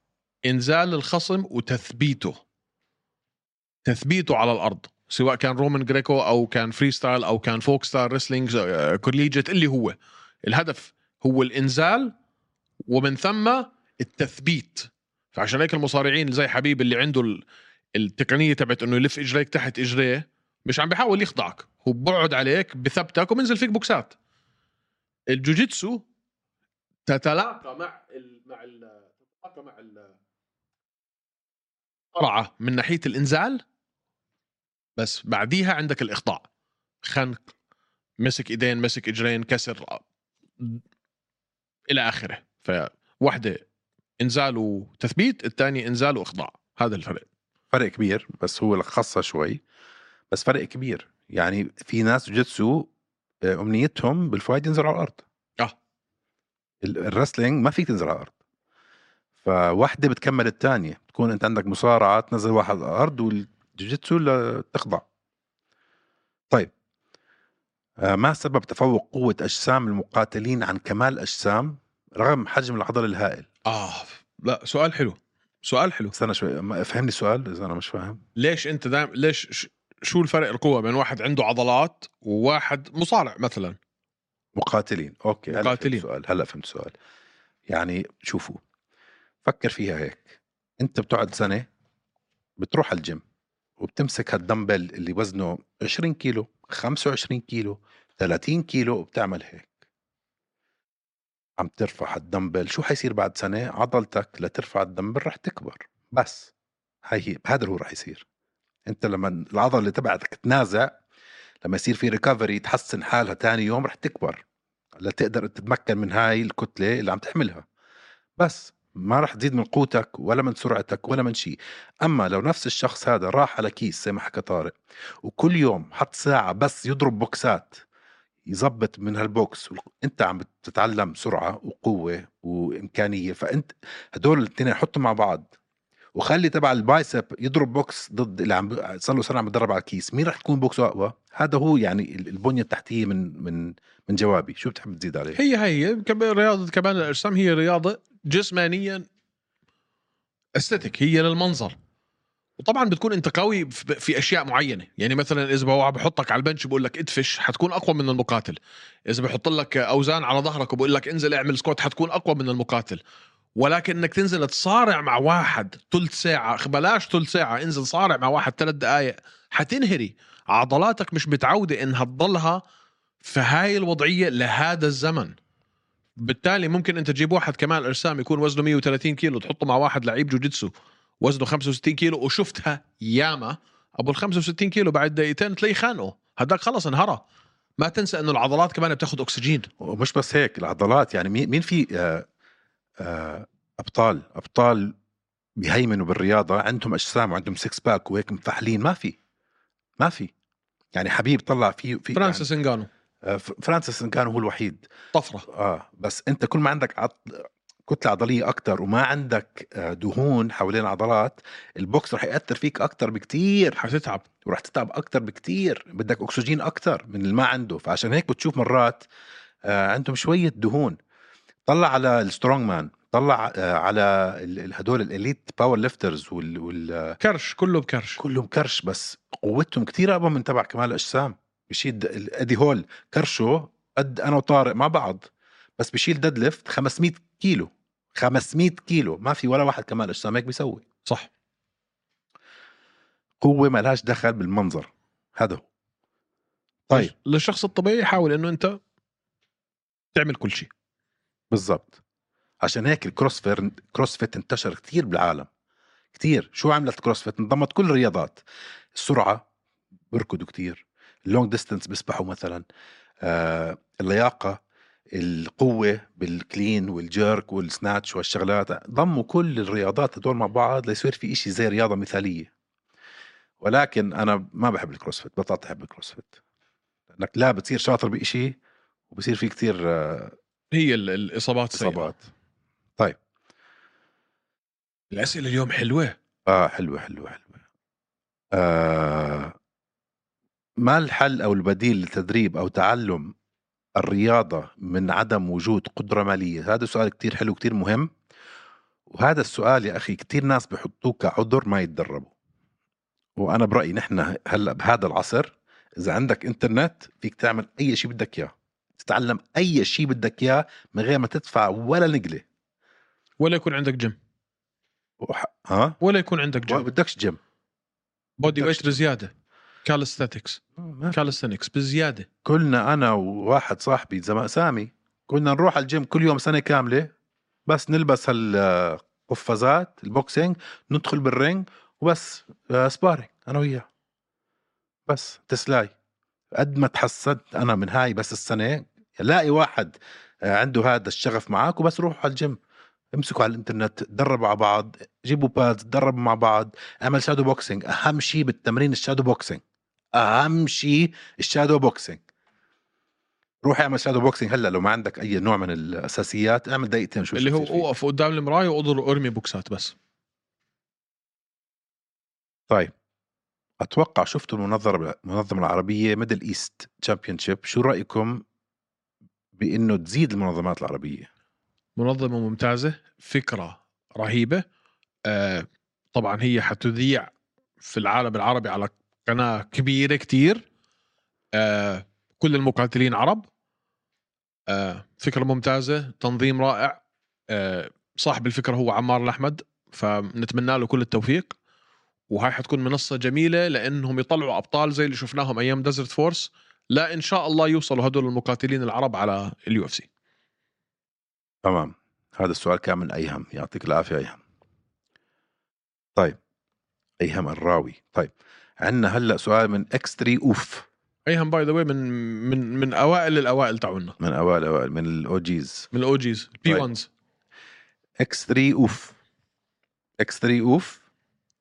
[SPEAKER 2] انزال الخصم وتثبيته تثبيته على الارض سواء كان رومان جريكو او كان فري ستايل او كان فوك ستايل ريسلينج آه، كوليجيت اللي هو الهدف هو الانزال ومن ثم التثبيت فعشان هيك المصارعين زي حبيب اللي عنده ال- التقنيه تبعت انه يلف اجريك تحت اجريه مش عم بيحاول يخضعك هو بقعد عليك بثبتك وبنزل فيك بوكسات الجوجيتسو تتلاقى مع ال مع ال تتلاقى مع ال قرعه من ناحيه الانزال بس بعديها عندك الاخضاع خنق مسك ايدين مسك اجرين كسر الى اخره فواحده انزال وتثبيت الثاني انزال واخضاع هذا الفرق
[SPEAKER 1] فرق كبير بس هو لخصها شوي بس فرق كبير يعني في ناس جوجيتسو آه، امنيتهم بالفايت ينزلوا على الارض
[SPEAKER 2] آه.
[SPEAKER 1] ال- الرسلينج ما فيك تنزل على الارض فواحده بتكمل الثانيه بتكون انت عندك مصارعه تنزل واحد على الارض والجوجيتسو لا- تخضع طيب آه، ما سبب تفوق قوة أجسام المقاتلين عن كمال أجسام رغم حجم العضل الهائل؟
[SPEAKER 2] اه لا سؤال حلو سؤال حلو
[SPEAKER 1] استنى شوي ما- فهمني السؤال إذا أنا مش فاهم
[SPEAKER 2] ليش انت دائما ليش ش- شو الفرق القوه بين واحد عنده عضلات وواحد مصارع مثلا
[SPEAKER 1] مقاتلين اوكي هلا
[SPEAKER 2] مقاتلين.
[SPEAKER 1] فهمت سؤال هلا فهمت سؤال يعني شوفوا فكر فيها هيك انت بتقعد سنه بتروح على الجيم وبتمسك هالدمبل اللي وزنه 20 كيلو 25 كيلو 30 كيلو وبتعمل هيك عم ترفع هالدمبل شو حيصير بعد سنه عضلتك لترفع الدمبل رح تكبر بس هاي هي هذا هو رح يصير انت لما العضله اللي تبعتك تنازع لما يصير في ريكفري تحسن حالها تاني يوم رح تكبر لتقدر تتمكن من هاي الكتلة اللي عم تحملها بس ما رح تزيد من قوتك ولا من سرعتك ولا من شيء أما لو نفس الشخص هذا راح على كيس زي ما حكى طارق وكل يوم حط ساعة بس يضرب بوكسات يظبط من هالبوكس وال- انت عم بتتعلم سرعة وقوة وإمكانية فأنت هدول الاثنين حطهم مع بعض وخلي تبع البايسب يضرب بوكس ضد اللي عم صار له سنه عم بتدرب على كيس مين رح تكون بوكسه اقوى هذا هو يعني ال- البنيه التحتيه من من من جوابي شو بتحب تزيد عليه
[SPEAKER 2] هي هي كمان رياضه كمال الاجسام هي رياضه جسمانيا استاتيك هي للمنظر وطبعا بتكون انت قوي ب- في اشياء معينه يعني مثلا اذا هو بحطك على البنش بقول لك ادفش حتكون اقوى من المقاتل اذا بحط لك اوزان على ظهرك وبقول لك انزل اعمل سكوت حتكون اقوى من المقاتل ولكن انك تنزل تصارع مع واحد ثلث ساعه بلاش ثلث ساعه انزل صارع مع واحد ثلاث دقائق حتنهري عضلاتك مش متعوده انها تضلها في هاي الوضعيه لهذا الزمن بالتالي ممكن انت تجيب واحد كمال اجسام يكون وزنه 130 كيلو تحطه مع واحد لعيب جوجيتسو وزنه 65 كيلو وشفتها ياما ابو ال 65 كيلو بعد دقيقتين تلاقيه خانقه هداك خلص انهرى ما تنسى انه العضلات كمان بتاخذ اكسجين
[SPEAKER 1] ومش بس هيك العضلات يعني مين مين في آه، آه، ابطال ابطال بيهيمنوا بالرياضه عندهم اجسام وعندهم سكس باك وهيك مفحلين ما في ما في يعني حبيب طلع فيه في
[SPEAKER 2] فرانسيس انجانو
[SPEAKER 1] يعني آه، ف- فرانسيس كان هو الوحيد
[SPEAKER 2] طفره
[SPEAKER 1] اه بس انت كل ما عندك عط... كتله عضليه اكتر وما عندك آه، دهون حوالين العضلات البوكس رح ياثر فيك اكتر بكتير
[SPEAKER 2] حتتعب
[SPEAKER 1] ورح تتعب اكتر بكتير بدك اكسجين اكتر من اللي ما عنده فعشان هيك بتشوف مرات آه، عندهم شويه دهون طلع على السترونج مان طلع آه، على ال- ال- هدول الاليت باور ليفترز وال, وال...
[SPEAKER 2] كرش كله بكرش
[SPEAKER 1] كلهم كرش بس قوتهم كتير اقوى من تبع كمال الاجسام بشيل د- ادي هول كرشه قد انا وطارق مع بعض بس بشيل ديد ليفت 500 كيلو 500 كيلو ما في ولا واحد كمال اجسام هيك بيسوي
[SPEAKER 2] صح
[SPEAKER 1] قوه ما لهاش دخل بالمنظر هذا هو طيب
[SPEAKER 2] للشخص الطبيعي حاول انه انت تعمل كل شيء
[SPEAKER 1] بالضبط عشان هيك الكروسفير كروسفيت انتشر كتير بالعالم كتير شو عملت الكروسفيت انضمت كل الرياضات السرعه بركضوا كتير اللونج ديستنس بيسبحوا مثلا آه اللياقه القوه بالكلين والجيرك والسناتش والشغلات ضموا كل الرياضات هدول مع بعض ليصير في إشي زي رياضه مثاليه ولكن انا ما بحب الكروسفيت بطلت احب الكروسفيت لانك لا بتصير شاطر بإشي وبصير في كتير آه،
[SPEAKER 2] هي ال- الاصابات سيئة.
[SPEAKER 1] اصابات
[SPEAKER 2] الاسئله اليوم حلوه
[SPEAKER 1] اه حلوه حلوه حلوه آه ما الحل او البديل لتدريب او تعلم الرياضه من عدم وجود قدره ماليه هذا سؤال كتير حلو كتير مهم وهذا السؤال يا اخي كتير ناس بحطوه كعذر ما يتدربوا وانا برايي نحن هلا بهذا العصر اذا عندك انترنت فيك تعمل اي شيء بدك اياه تتعلم اي شيء بدك اياه من غير ما تدفع ولا نقله
[SPEAKER 2] ولا يكون عندك جيم
[SPEAKER 1] وح- ها
[SPEAKER 2] ولا يكون عندك جيم
[SPEAKER 1] بدكش جيم
[SPEAKER 2] بودي
[SPEAKER 1] بدكش
[SPEAKER 2] ويت بزياده كالستاتكس
[SPEAKER 1] ما
[SPEAKER 2] كالستنكس بزياده
[SPEAKER 1] كلنا انا وواحد صاحبي زمان سامي كنا نروح على الجيم كل يوم سنه كامله بس نلبس هالقفازات البوكسينج ندخل بالرينج وبس آه، سبارينج انا وياه بس تسلاي قد ما تحسنت انا من هاي بس السنه لاقي واحد آه، عنده هذا الشغف معك وبس روحوا على الجيم امسكوا على الانترنت تدربوا على بعض جيبوا بادز تدربوا مع بعض اعمل شادو بوكسينج اهم شيء بالتمرين الشادو بوكسينج اهم شيء الشادو بوكسينج روح اعمل شادو بوكسينج هلا لو ما عندك اي نوع من الاساسيات اعمل دقيقتين شوف
[SPEAKER 2] اللي
[SPEAKER 1] شو
[SPEAKER 2] هو
[SPEAKER 1] بتصير فيه.
[SPEAKER 2] اوقف قدام المرايه واضرب ارمي بوكسات بس
[SPEAKER 1] طيب اتوقع شفتوا المنظمه المنظمه العربيه ميدل ايست تشامبيون شو رايكم بانه تزيد المنظمات العربيه
[SPEAKER 2] منظمه ممتازه فكره رهيبه آه طبعا هي حتذيع في العالم العربي على قناه كبيره كتير آه كل المقاتلين عرب آه فكره ممتازه تنظيم رائع آه صاحب الفكره هو عمار الاحمد فنتمنى له كل التوفيق وهاي حتكون منصه جميله لانهم يطلعوا ابطال زي اللي شفناهم ايام ديزرت فورس لا ان شاء الله يوصلوا هدول المقاتلين العرب على اليو اف سي
[SPEAKER 1] تمام هذا السؤال كان من ايهم يعطيك العافيه ايهم طيب ايهم الراوي طيب عندنا هلا سؤال من اكس 3 اوف
[SPEAKER 2] ايهم باي ذا واي من من من اوائل الاوائل تاعونا
[SPEAKER 1] من اوائل اوائل من الاو جيز
[SPEAKER 2] من الاو جيز بي
[SPEAKER 1] طيب.
[SPEAKER 2] 1
[SPEAKER 1] اكس 3 اوف اكس 3 اوف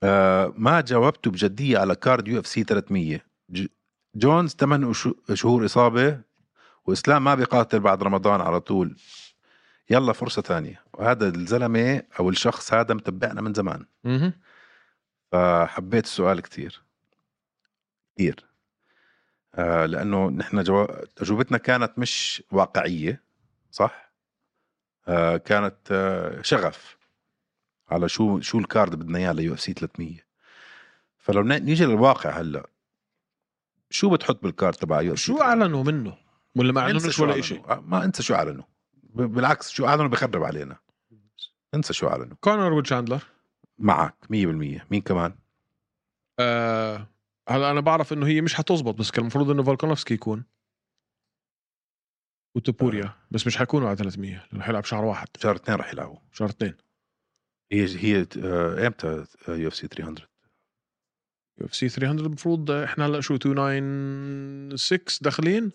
[SPEAKER 1] آه ما جاوبت بجديه على كارد يو اف سي 300 ج- جونز 8 شهور اصابه واسلام ما بيقاتل بعد رمضان على طول يلا فرصه ثانيه وهذا الزلمه او الشخص هذا متبعنا من زمان
[SPEAKER 2] اها
[SPEAKER 1] فحبيت السؤال كثير كثير آه لانه نحن جو... اجوبتنا كانت مش واقعيه صح؟ آه كانت آه شغف على شو شو الكارد بدنا اياه ليو اف سي 300 فلو ن- نيجي للواقع هلا شو بتحط بالكارد تبع يو اف سي
[SPEAKER 2] شو اعلنوا منه؟ ولا ما اعلنوش ولا شيء؟
[SPEAKER 1] آه، ما انسى شو اعلنوا ب- بالعكس شو اعلنوا بخرب علينا انسى شو اعلنوا
[SPEAKER 2] كونر وتشاندلر
[SPEAKER 1] معك 100% مين كمان؟
[SPEAKER 2] آه هلا انا بعرف انه هي مش حتزبط بس كان المفروض انه فولكانوفسكي يكون وتبوريا بس مش حيكونوا على 300 لانه حيلعب شهر واحد
[SPEAKER 1] شهر اثنين رح يلعبوا
[SPEAKER 2] شهر اثنين
[SPEAKER 1] هي هي آه، امتى يو اف سي 300
[SPEAKER 2] يو اف سي 300 المفروض احنا هلا شو 296 داخلين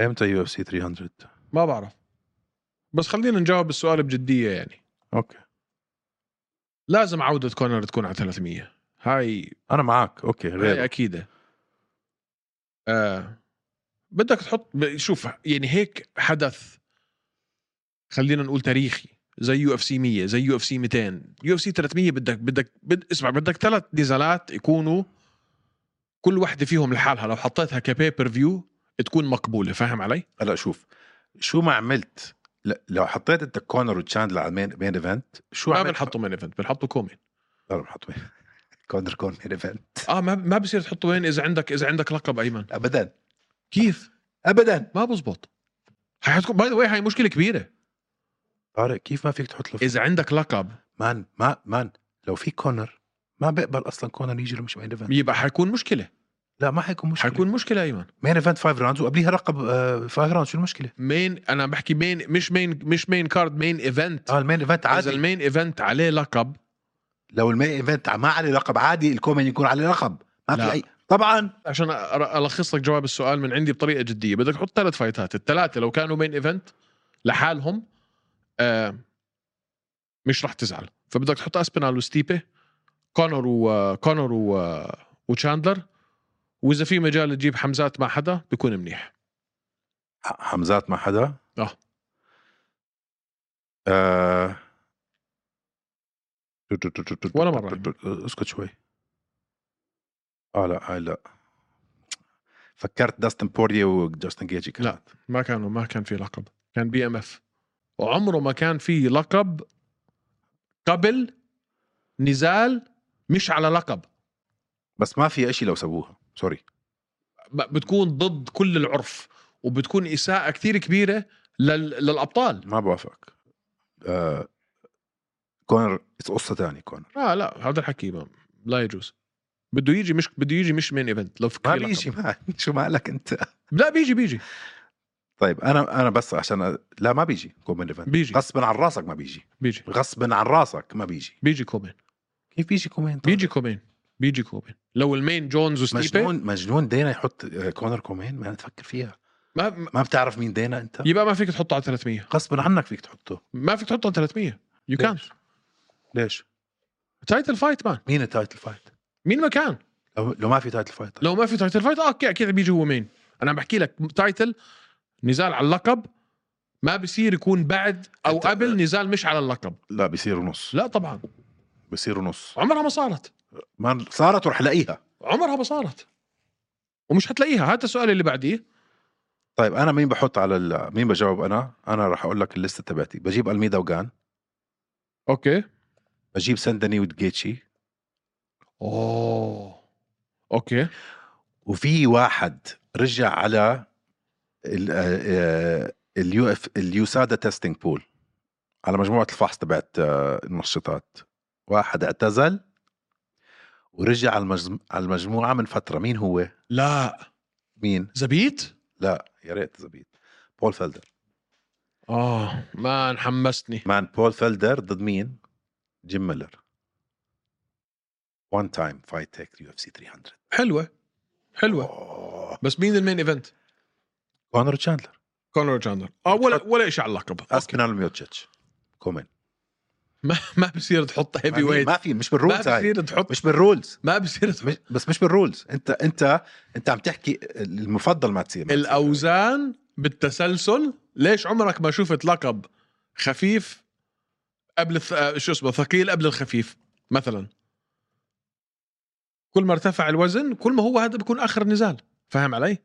[SPEAKER 1] امتى يو اف سي 300
[SPEAKER 2] ما بعرف بس خلينا نجاوب السؤال بجديه يعني
[SPEAKER 1] اوكي
[SPEAKER 2] لازم عوده كونر تكون على 300 هاي
[SPEAKER 1] انا معك اوكي
[SPEAKER 2] هاي
[SPEAKER 1] غير
[SPEAKER 2] اكيده إيه، آه بدك تحط ب- شوف يعني هيك حدث خلينا نقول تاريخي زي يو اف سي 100 زي يو اف سي 200 يو اف سي 300 بدك بدك بد اسمع بدك ثلاث نزالات يكونوا كل وحده فيهم لحالها لو حطيتها كبيبر فيو تكون مقبوله فاهم علي؟
[SPEAKER 1] هلا شوف شو ما عملت ل- لو حطيت انت كونر وتشاندلر على المين مين ايفنت شو
[SPEAKER 2] ما
[SPEAKER 1] عملت
[SPEAKER 2] بنحطه مين ايفنت بنحطه كومين
[SPEAKER 1] لا بنحط مين كونر كون مين ايفنت
[SPEAKER 2] اه ما ما بصير تحطه وين اذا عندك اذا عندك لقب ايمن
[SPEAKER 1] ابدا
[SPEAKER 2] كيف؟
[SPEAKER 1] ابدا
[SPEAKER 2] ما بزبط حتكون باي ذا واي هاي مشكله كبيره
[SPEAKER 1] طارق كيف ما فيك تحط له
[SPEAKER 2] اذا عندك لقب
[SPEAKER 1] مان ما مان لو في كونر ما بقبل اصلا كونر يجي له مش مين ايفنت
[SPEAKER 2] يبقى حيكون مشكله
[SPEAKER 1] لا ما حيكون مشكله حيكون
[SPEAKER 2] حيكون مشكله ايمن
[SPEAKER 1] مين ايفنت 5 راوندز وقبليها رقب 5 راوندز شو المشكله؟
[SPEAKER 2] مين انا بحكي مين مش مين مش مين كارد مين ايفنت
[SPEAKER 1] اه المين ايفنت
[SPEAKER 2] اذا
[SPEAKER 1] عادي
[SPEAKER 2] المين ايفنت عليه لقب
[SPEAKER 1] لو المين ايفنت ما عليه لقب عادي الكومين يكون عليه لقب ما
[SPEAKER 2] لا.
[SPEAKER 1] في اي طبعا
[SPEAKER 2] عشان أر- الخص لك جواب السؤال من عندي بطريقه جديه بدك تحط ثلاث فايتات الثلاثه لو كانوا مين ايفنت لحالهم آه مش رح تزعل فبدك تحط اسبينال وستيبي كونر وكونر و... وتشاندلر واذا في مجال تجيب حمزات مع حدا بيكون منيح
[SPEAKER 1] ح- حمزات مع حدا
[SPEAKER 2] آه.
[SPEAKER 1] آه. تو- تو- تو- تو- تو-
[SPEAKER 2] ولا
[SPEAKER 1] تو-
[SPEAKER 2] مرة.
[SPEAKER 1] تو- تو- اسكت شوي اه لا آه لا فكرت داستن بوريا وجاستن جيجي كانت
[SPEAKER 2] لا. ما كانوا ما كان في لقب كان بي ام اف وعمره ما كان في لقب قبل نزال مش على لقب
[SPEAKER 1] بس ما في شيء لو سووها سوري
[SPEAKER 2] ب- بتكون ضد كل العرف وبتكون اساءه كثير كبيره لل... للابطال
[SPEAKER 1] ما بوافقك آه. كونر قصه ثانيه كونر
[SPEAKER 2] لا آه، لا هذا الحكي ما لا يجوز بده يجي مش بده يجي مش مين ايفنت لو في
[SPEAKER 1] ما
[SPEAKER 2] لقب.
[SPEAKER 1] بيجي ما شو مالك انت
[SPEAKER 2] لا بيجي بيجي
[SPEAKER 1] طيب انا انا بس عشان أ- لا ما بيجي كومين ايفنت
[SPEAKER 2] بيجي
[SPEAKER 1] غصبا عن راسك ما بيجي
[SPEAKER 2] بيجي
[SPEAKER 1] غصبا عن راسك ما بيجي
[SPEAKER 2] بيجي كومين
[SPEAKER 1] كيف بيجي كومين طيب؟
[SPEAKER 2] بيجي كومين بيجي كومين لو المين جونز وستيبي
[SPEAKER 1] مجنون مجنون دينا يحط آه، كونر كومين ما تفكر فيها
[SPEAKER 2] ما
[SPEAKER 1] ما بتعرف مين دينا انت
[SPEAKER 2] يبقى ما فيك تحطه على 300
[SPEAKER 1] غصبا عنك فيك تحطه
[SPEAKER 2] ما فيك تحطه على 300 يو كان
[SPEAKER 1] ليش؟ ليش
[SPEAKER 2] تايتل فايت مان
[SPEAKER 1] مين التايتل فايت
[SPEAKER 2] مين ما كان
[SPEAKER 1] لو, لو ما في تايتل فايت
[SPEAKER 2] لو ما في تايتل فايت اه اوكي اكيد بيجي هو مين انا عم بحكي لك تايتل نزال على اللقب ما بصير يكون بعد او
[SPEAKER 1] أنت-
[SPEAKER 2] قبل نزال مش على اللقب
[SPEAKER 1] لا بيصيروا نص
[SPEAKER 2] لا طبعا
[SPEAKER 1] بيصيروا نص
[SPEAKER 2] عمرها ما صارت
[SPEAKER 1] ما صارت ورح لاقيها
[SPEAKER 2] عمرها ما صارت ومش حتلاقيها هذا السؤال اللي بعديه
[SPEAKER 1] طيب انا مين بحط على ال... مين بجاوب انا انا رح اقول لك الليسته تبعتي بجيب الميدا وجان
[SPEAKER 2] اوكي
[SPEAKER 1] بجيب سندني ودجيتشي
[SPEAKER 2] اوه اوكي
[SPEAKER 1] وفي واحد رجع على ال- آه، اليو اف اليوسادا تيستينج بول على مجموعه الفحص تبعت آه، المنشطات واحد اعتزل ورجع على المجم- على المجموعه من فتره مين هو
[SPEAKER 2] لا
[SPEAKER 1] مين
[SPEAKER 2] زبيت
[SPEAKER 1] لا يا ريت زبيط بول فلدر
[SPEAKER 2] اه ما حمستني
[SPEAKER 1] مان بول فلدر ضد مين جيم ميلر وان تايم فايت تيك يو اف سي 300
[SPEAKER 2] حلوه حلوه
[SPEAKER 1] أوه.
[SPEAKER 2] بس مين المين ايفنت
[SPEAKER 1] كونر تشاندلر
[SPEAKER 2] كونر جاندر اه ولا ولا شيء على اللقب أوكي.
[SPEAKER 1] اسبينال ميوتشيتش كومن
[SPEAKER 2] ما ما بصير تحط هيفي ويت
[SPEAKER 1] ما في مش
[SPEAKER 2] ما
[SPEAKER 1] بالرولز هاي
[SPEAKER 2] بصير تحط
[SPEAKER 1] مش بالرولز
[SPEAKER 2] ما بصير تحط
[SPEAKER 1] مش بس مش بالرولز انت انت انت عم تحكي المفضل ما تصير ما تصير.
[SPEAKER 2] الاوزان بالتسلسل ليش عمرك ما شفت لقب خفيف قبل الث... آه، شو اسمه ثقيل قبل الخفيف مثلا كل ما ارتفع الوزن كل ما هو هذا بيكون اخر نزال فاهم علي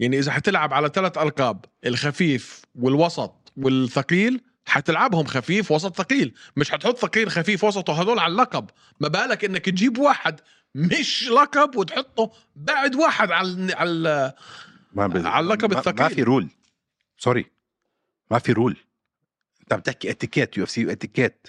[SPEAKER 2] يعني اذا حتلعب على ثلاث القاب الخفيف والوسط والثقيل حتلعبهم خفيف وسط ثقيل مش حتحط ثقيل خفيف وسط وهدول على اللقب ما بالك انك تجيب واحد مش لقب وتحطه بعد واحد على على
[SPEAKER 1] ما بز...
[SPEAKER 2] على اللقب
[SPEAKER 1] ما- ما
[SPEAKER 2] الثقيل.
[SPEAKER 1] في رول سوري ما في رول انت عم تحكي اتيكيت يو اف سي اتيكيت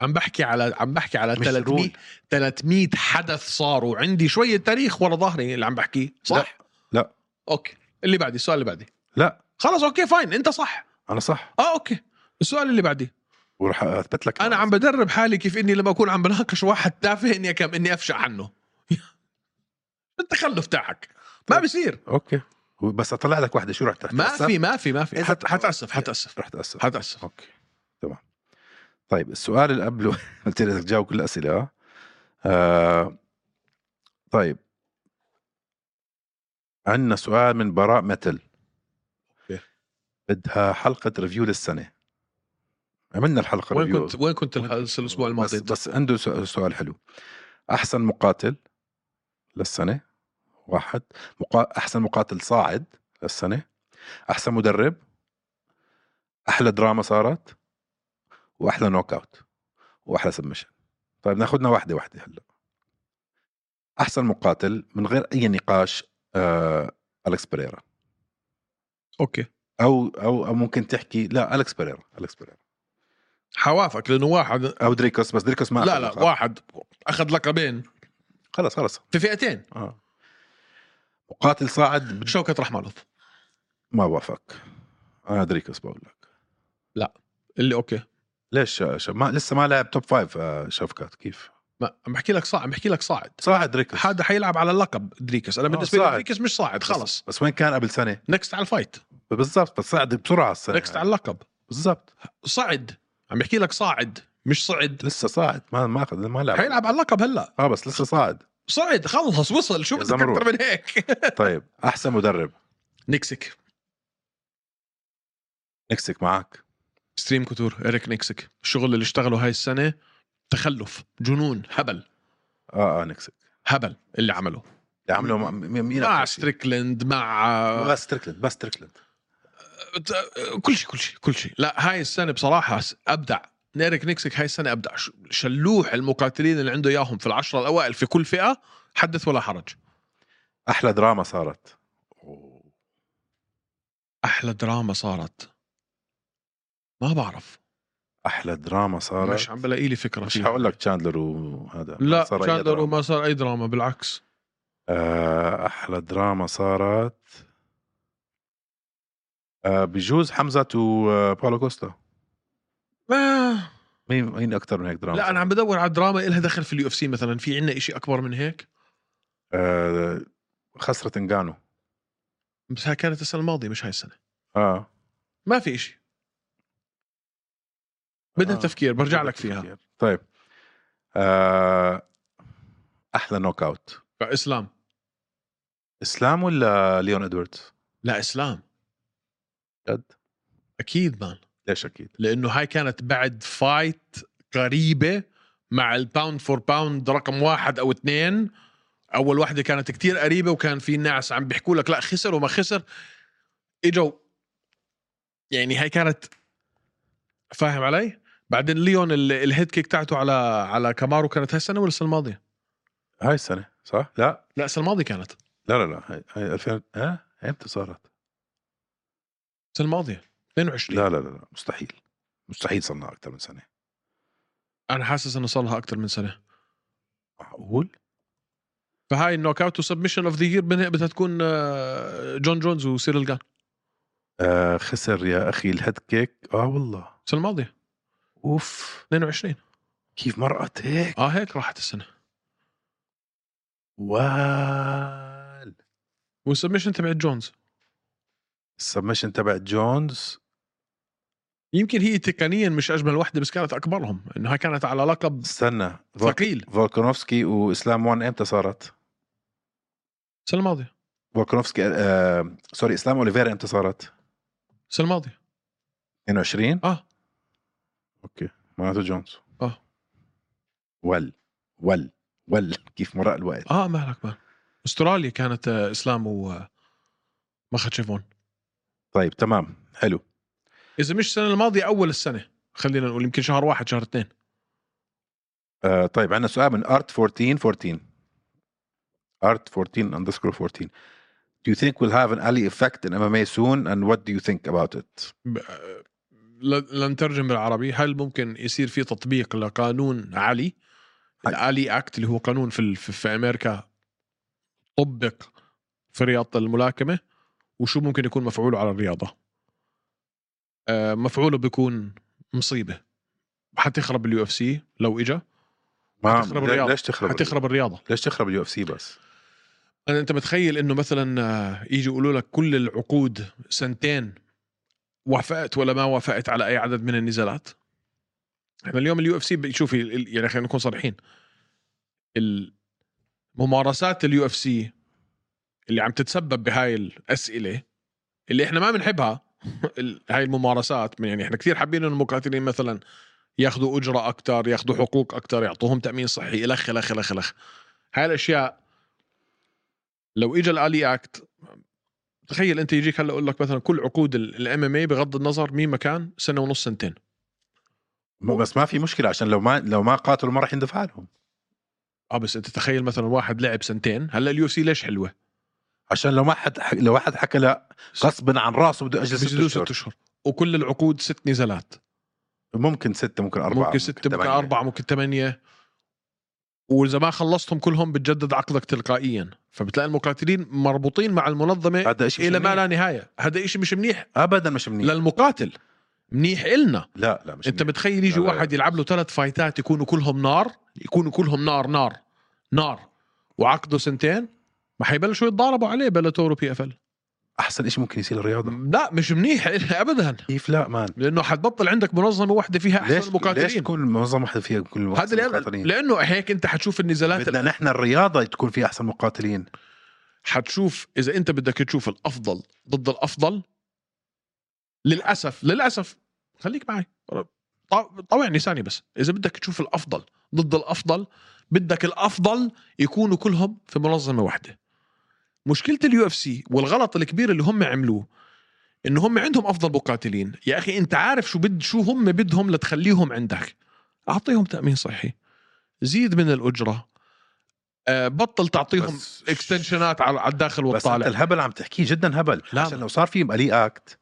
[SPEAKER 2] عم بحكي على عم بحكي على
[SPEAKER 1] مش
[SPEAKER 2] 300
[SPEAKER 1] رول
[SPEAKER 2] 300 حدث صاروا عندي شويه تاريخ ورا ظهري اللي عم بحكيه صح
[SPEAKER 1] لا.
[SPEAKER 2] اوكي اللي بعدي السؤال اللي بعدي
[SPEAKER 1] لا
[SPEAKER 2] خلص اوكي فاين انت صح
[SPEAKER 1] انا صح
[SPEAKER 2] اه اوكي السؤال اللي بعدي
[SPEAKER 1] وراح اثبت لك
[SPEAKER 2] انا عم بدرب حالي كيف اني لما اكون عم بناقش واحد تافه اني كم اني افشى عنه التخلف تاعك ما
[SPEAKER 1] طيب.
[SPEAKER 2] بصير
[SPEAKER 1] اوكي بس اطلع لك واحده شو رح تحت
[SPEAKER 2] ما في ما في ما في
[SPEAKER 1] إذا-
[SPEAKER 2] حت- حتاسف حتاسف
[SPEAKER 1] رح تاسف
[SPEAKER 2] حتاسف
[SPEAKER 1] اوكي تمام طيب السؤال اللي قبله قلت لك تجاوب كل الاسئله آه طيب عندنا سؤال من براء متل
[SPEAKER 2] أوكي.
[SPEAKER 1] بدها حلقه ريفيو للسنه عملنا الحلقه
[SPEAKER 2] وين
[SPEAKER 1] ريفيو
[SPEAKER 2] كنت وين كنت الح- الاسبوع الماضي
[SPEAKER 1] بس, بس عنده سؤ- سؤال حلو احسن مقاتل للسنه واحد مقا... احسن مقاتل صاعد للسنه احسن مدرب احلى دراما صارت واحلى نوك اوت واحلى سبمشن طيب ناخذنا واحده واحده هلا احسن مقاتل من غير اي نقاش آه... الكس بريرا
[SPEAKER 2] اوكي
[SPEAKER 1] او او او ممكن تحكي لا الكس بريرا الكس بريرا
[SPEAKER 2] حوافك لانه واحد
[SPEAKER 1] او دريكوس بس دريكوس ما
[SPEAKER 2] لا
[SPEAKER 1] أخذ
[SPEAKER 2] لا
[SPEAKER 1] لقب.
[SPEAKER 2] واحد اخذ لقبين
[SPEAKER 1] خلص خلص
[SPEAKER 2] في فئتين
[SPEAKER 1] آه. مقاتل صاعد بد-
[SPEAKER 2] شوكة رحمانوف
[SPEAKER 1] ما وافق انا دريكس بقول لك
[SPEAKER 2] اللي اوكي
[SPEAKER 1] ليش ش... ما لسه ما لعب توب فايف آه، شفكات كيف
[SPEAKER 2] ما عم بحكي لك صاعد عم بحكي لك صاعد
[SPEAKER 1] صاعد دريكس
[SPEAKER 2] هذا حيلعب على اللقب دريكس انا
[SPEAKER 1] آه،
[SPEAKER 2] بالنسبه لي
[SPEAKER 1] صاعد.
[SPEAKER 2] دريكس مش صاعد خلص
[SPEAKER 1] بس وين كان قبل سنه
[SPEAKER 2] نكست على الفايت
[SPEAKER 1] بالضبط بس صعد بسرعه السنه
[SPEAKER 2] نكست
[SPEAKER 1] يعني.
[SPEAKER 2] على اللقب
[SPEAKER 1] بالضبط
[SPEAKER 2] صعد عم بحكي لك صاعد مش صعد
[SPEAKER 1] لسه صاعد ما ما اخذ ما لعب
[SPEAKER 2] حيلعب على اللقب هلا
[SPEAKER 1] اه بس لسه صاعد
[SPEAKER 2] صعد خلص وصل شو
[SPEAKER 1] يا
[SPEAKER 2] بدك
[SPEAKER 1] زمرود.
[SPEAKER 2] اكثر من هيك
[SPEAKER 1] طيب احسن مدرب
[SPEAKER 2] نكسك
[SPEAKER 1] نكسك معك
[SPEAKER 2] ستريم كوتور اريك نكسك الشغل اللي اشتغله هاي السنه تخلف جنون هبل
[SPEAKER 1] اه اه نكسك
[SPEAKER 2] هبل اللي عمله
[SPEAKER 1] اللي عمله مع م- مين
[SPEAKER 2] مع
[SPEAKER 1] أكتر شي؟
[SPEAKER 2] ستريكلند مع
[SPEAKER 1] بس ستريكلند بس ستريكلند
[SPEAKER 2] كل شيء كل شيء كل شيء لا هاي السنه بصراحه ابدع نيريك نيكسك هاي السنه ابدع ش- شلوح المقاتلين اللي عنده اياهم في العشره الاوائل في كل فئه حدث ولا حرج
[SPEAKER 1] احلى دراما صارت أوه.
[SPEAKER 2] احلى دراما صارت ما بعرف
[SPEAKER 1] احلى دراما صارت
[SPEAKER 2] مش عم بلاقي لي فكره
[SPEAKER 1] مش
[SPEAKER 2] فيها
[SPEAKER 1] هقول لك تشاندلر وهذا
[SPEAKER 2] لا
[SPEAKER 1] صار أي
[SPEAKER 2] تشاندلر
[SPEAKER 1] دراما.
[SPEAKER 2] وما صار اي دراما بالعكس
[SPEAKER 1] آه، احلى دراما صارت آه، بجوز حمزه وباولو كوستا
[SPEAKER 2] ما
[SPEAKER 1] مين مين اكثر من هيك دراما
[SPEAKER 2] لا انا عم بدور على دراما إلها دخل في اليو اف سي مثلا في عندنا شيء اكبر من هيك
[SPEAKER 1] آه، خسرت انجانو
[SPEAKER 2] بس هاي كانت السنه الماضيه مش هاي السنه
[SPEAKER 1] اه
[SPEAKER 2] ما في إشي بدها
[SPEAKER 1] آه.
[SPEAKER 2] تفكير برجع لك
[SPEAKER 1] تفكير.
[SPEAKER 2] فيها
[SPEAKER 1] طيب آه احلى نوك اوت
[SPEAKER 2] اسلام
[SPEAKER 1] اسلام ولا ليون ادواردز؟
[SPEAKER 2] لا اسلام
[SPEAKER 1] جد؟
[SPEAKER 2] اكيد مان
[SPEAKER 1] ليش اكيد؟
[SPEAKER 2] لانه هاي كانت بعد فايت قريبه مع الباوند فور باوند رقم واحد او اثنين اول واحده كانت كتير قريبه وكان في ناس عم بيحكوا لك لا خسر وما خسر اجوا يعني هاي كانت فاهم علي بعدين ليون ال- الهيد كيك تاعته على على كامارو كانت هالسنه ولا السنه الماضيه
[SPEAKER 1] هاي السنه صح؟ لا
[SPEAKER 2] لا السنه الماضيه كانت
[SPEAKER 1] لا لا لا هاي, هاي 2000 ها امتى صارت؟
[SPEAKER 2] السنه الماضيه 22
[SPEAKER 1] لا لا لا لا مستحيل مستحيل صار لها اكثر من سنه
[SPEAKER 2] انا حاسس انه صار لها اكثر من سنه
[SPEAKER 1] معقول؟
[SPEAKER 2] فهاي النوك اوت وسبمشن اوف ذا يير بدها تكون آه، جون جونز وسيريل جان
[SPEAKER 1] آه خسر يا اخي الهيد كيك اه والله
[SPEAKER 2] السنه الماضيه
[SPEAKER 1] اوف
[SPEAKER 2] 22
[SPEAKER 1] كيف مرقت هيك؟
[SPEAKER 2] اه هيك راحت السنه
[SPEAKER 1] وال
[SPEAKER 2] والسبمشن تبعت جونز
[SPEAKER 1] السبمشن تبع جونز
[SPEAKER 2] يمكن هي تقنيا مش اجمل وحده بس كانت اكبرهم انه هاي كانت على لقب
[SPEAKER 1] استنى فولك-
[SPEAKER 2] ثقيل
[SPEAKER 1] فولكانوفسكي واسلام وان امتى صارت؟
[SPEAKER 2] السنه الماضيه
[SPEAKER 1] فولكانوفسكي آه سوري اسلام اوليفيرا امتى صارت؟
[SPEAKER 2] السنه الماضيه
[SPEAKER 1] 22
[SPEAKER 2] اه
[SPEAKER 1] اوكي معناته جونز
[SPEAKER 2] آه.
[SPEAKER 1] ول ول ول كيف مرق الوقت
[SPEAKER 2] اه مالك مان استراليا كانت آه، اسلام و مخاتشيفون
[SPEAKER 1] طيب تمام حلو
[SPEAKER 2] اذا مش السنه الماضيه اول السنه خلينا نقول يمكن شهر واحد شهر اثنين
[SPEAKER 1] آه طيب عندنا سؤال من ارت 14 14 art 14 underscore 14 Do you think we'll have an alley effect in MMA soon and what do you think about it?
[SPEAKER 2] ب- آه، ل- لنترجم بالعربي هل ممكن يصير في تطبيق لقانون علي
[SPEAKER 1] هاي.
[SPEAKER 2] الالي اكت اللي هو قانون في ال- في, في امريكا طبق في رياضه الملاكمه وشو ممكن يكون مفعوله على الرياضه آه، مفعوله بيكون مصيبه حتخرب اليو اف سي لو اجى
[SPEAKER 1] ما
[SPEAKER 2] حتخرب
[SPEAKER 1] ليه-
[SPEAKER 2] الرياضة.
[SPEAKER 1] ليش تخرب
[SPEAKER 2] حتخرب الرياضه
[SPEAKER 1] ليش تخرب اليو اف سي بس؟
[SPEAKER 2] أنا انت متخيل انه مثلا آه، يجي يقولوا لك كل العقود سنتين وافقت ولا ما وافقت على اي عدد من النزالات احنا اليوم اليو اف سي شوفي ال- يعني خلينا نكون صريحين ال- ممارسات اليو اف سي اللي عم تتسبب بهاي الاسئله اللي احنا ما بنحبها ال- هاي الممارسات من- يعني احنا كثير حابين انه المقاتلين مثلا ياخذوا اجره اكثر ياخذوا حقوق اكثر يعطوهم تامين صحي الخ الخ الخ الخ هاي الاشياء لو اجى الالي اكت تخيل انت يجيك هلا اقول لك مثلا كل عقود الام ام اي بغض النظر مين مكان سنه ونص سنتين
[SPEAKER 1] مو بس ما في مشكله عشان لو ما لو ما قاتلوا ما راح يندفع لهم
[SPEAKER 2] اه بس انت تخيل مثلا واحد لعب سنتين هلا اليو سي ليش حلوه؟
[SPEAKER 1] عشان لو ما حد حك... لو واحد حكى لا غصبا عن راسه بده اجل ست
[SPEAKER 2] بيزيدوا
[SPEAKER 1] اشهر
[SPEAKER 2] ست اشهر وكل العقود ست نزالات
[SPEAKER 1] ممكن ستة ممكن أربعة
[SPEAKER 2] ممكن ستة ممكن
[SPEAKER 1] ثمانية.
[SPEAKER 2] أربعة ممكن ثمانية وإذا ما خلصتهم كلهم بتجدد عقدك تلقائيا فبتلاقي المقاتلين مربوطين مع المنظمة
[SPEAKER 1] هذا شيء
[SPEAKER 2] إلى ما لا نهاية هذا إشي مش منيح
[SPEAKER 1] أبدا مش منيح لا
[SPEAKER 2] للمقاتل منيح إلنا
[SPEAKER 1] لا, لا مش
[SPEAKER 2] انت
[SPEAKER 1] منيح.
[SPEAKER 2] متخيل يجي
[SPEAKER 1] لا لا.
[SPEAKER 2] واحد يلعب له ثلاث فايتات يكونوا كلهم نار يكونوا كلهم نار نار نار وعقده سنتين ما حيبلشوا يتضاربوا عليه بلاتور وبي اف ال
[SPEAKER 1] أحسن شيء ممكن يصير للرياضة
[SPEAKER 2] لا مش منيح ابدا
[SPEAKER 1] كيف لا مان
[SPEAKER 2] لانه حتبطل عندك منظمه واحده فيها
[SPEAKER 1] ليش
[SPEAKER 2] احسن
[SPEAKER 1] ليش
[SPEAKER 2] مقاتلين
[SPEAKER 1] تكون منظمة واحدة فيها كل
[SPEAKER 2] هذا
[SPEAKER 1] المقاتلين
[SPEAKER 2] لأن...
[SPEAKER 1] مقاتلين؟
[SPEAKER 2] لانه هيك انت حتشوف النزالات
[SPEAKER 1] بدنا نحن الرياضة تكون فيها أحسن مقاتلين
[SPEAKER 2] حتشوف اذا انت بدك تشوف الافضل ضد الافضل للاسف للاسف خليك معي طو- طوعني ثانيه بس اذا بدك تشوف الافضل ضد الافضل بدك الافضل يكونوا كلهم في منظمه واحده مشكله اليو اف سي والغلط الكبير اللي هم عملوه ان هم عندهم افضل مقاتلين يا اخي انت عارف شو بد شو هم بدهم لتخليهم عندك اعطيهم تامين صحي زيد من الاجره آه، بطل تعطيهم
[SPEAKER 1] بس-
[SPEAKER 2] اكستنشنات على على الداخل
[SPEAKER 1] بس أنت
[SPEAKER 2] والطالع نعم.
[SPEAKER 1] الهبل عم تحكيه جدا هبل
[SPEAKER 2] لا.
[SPEAKER 1] عشان لو صار في ألي أكت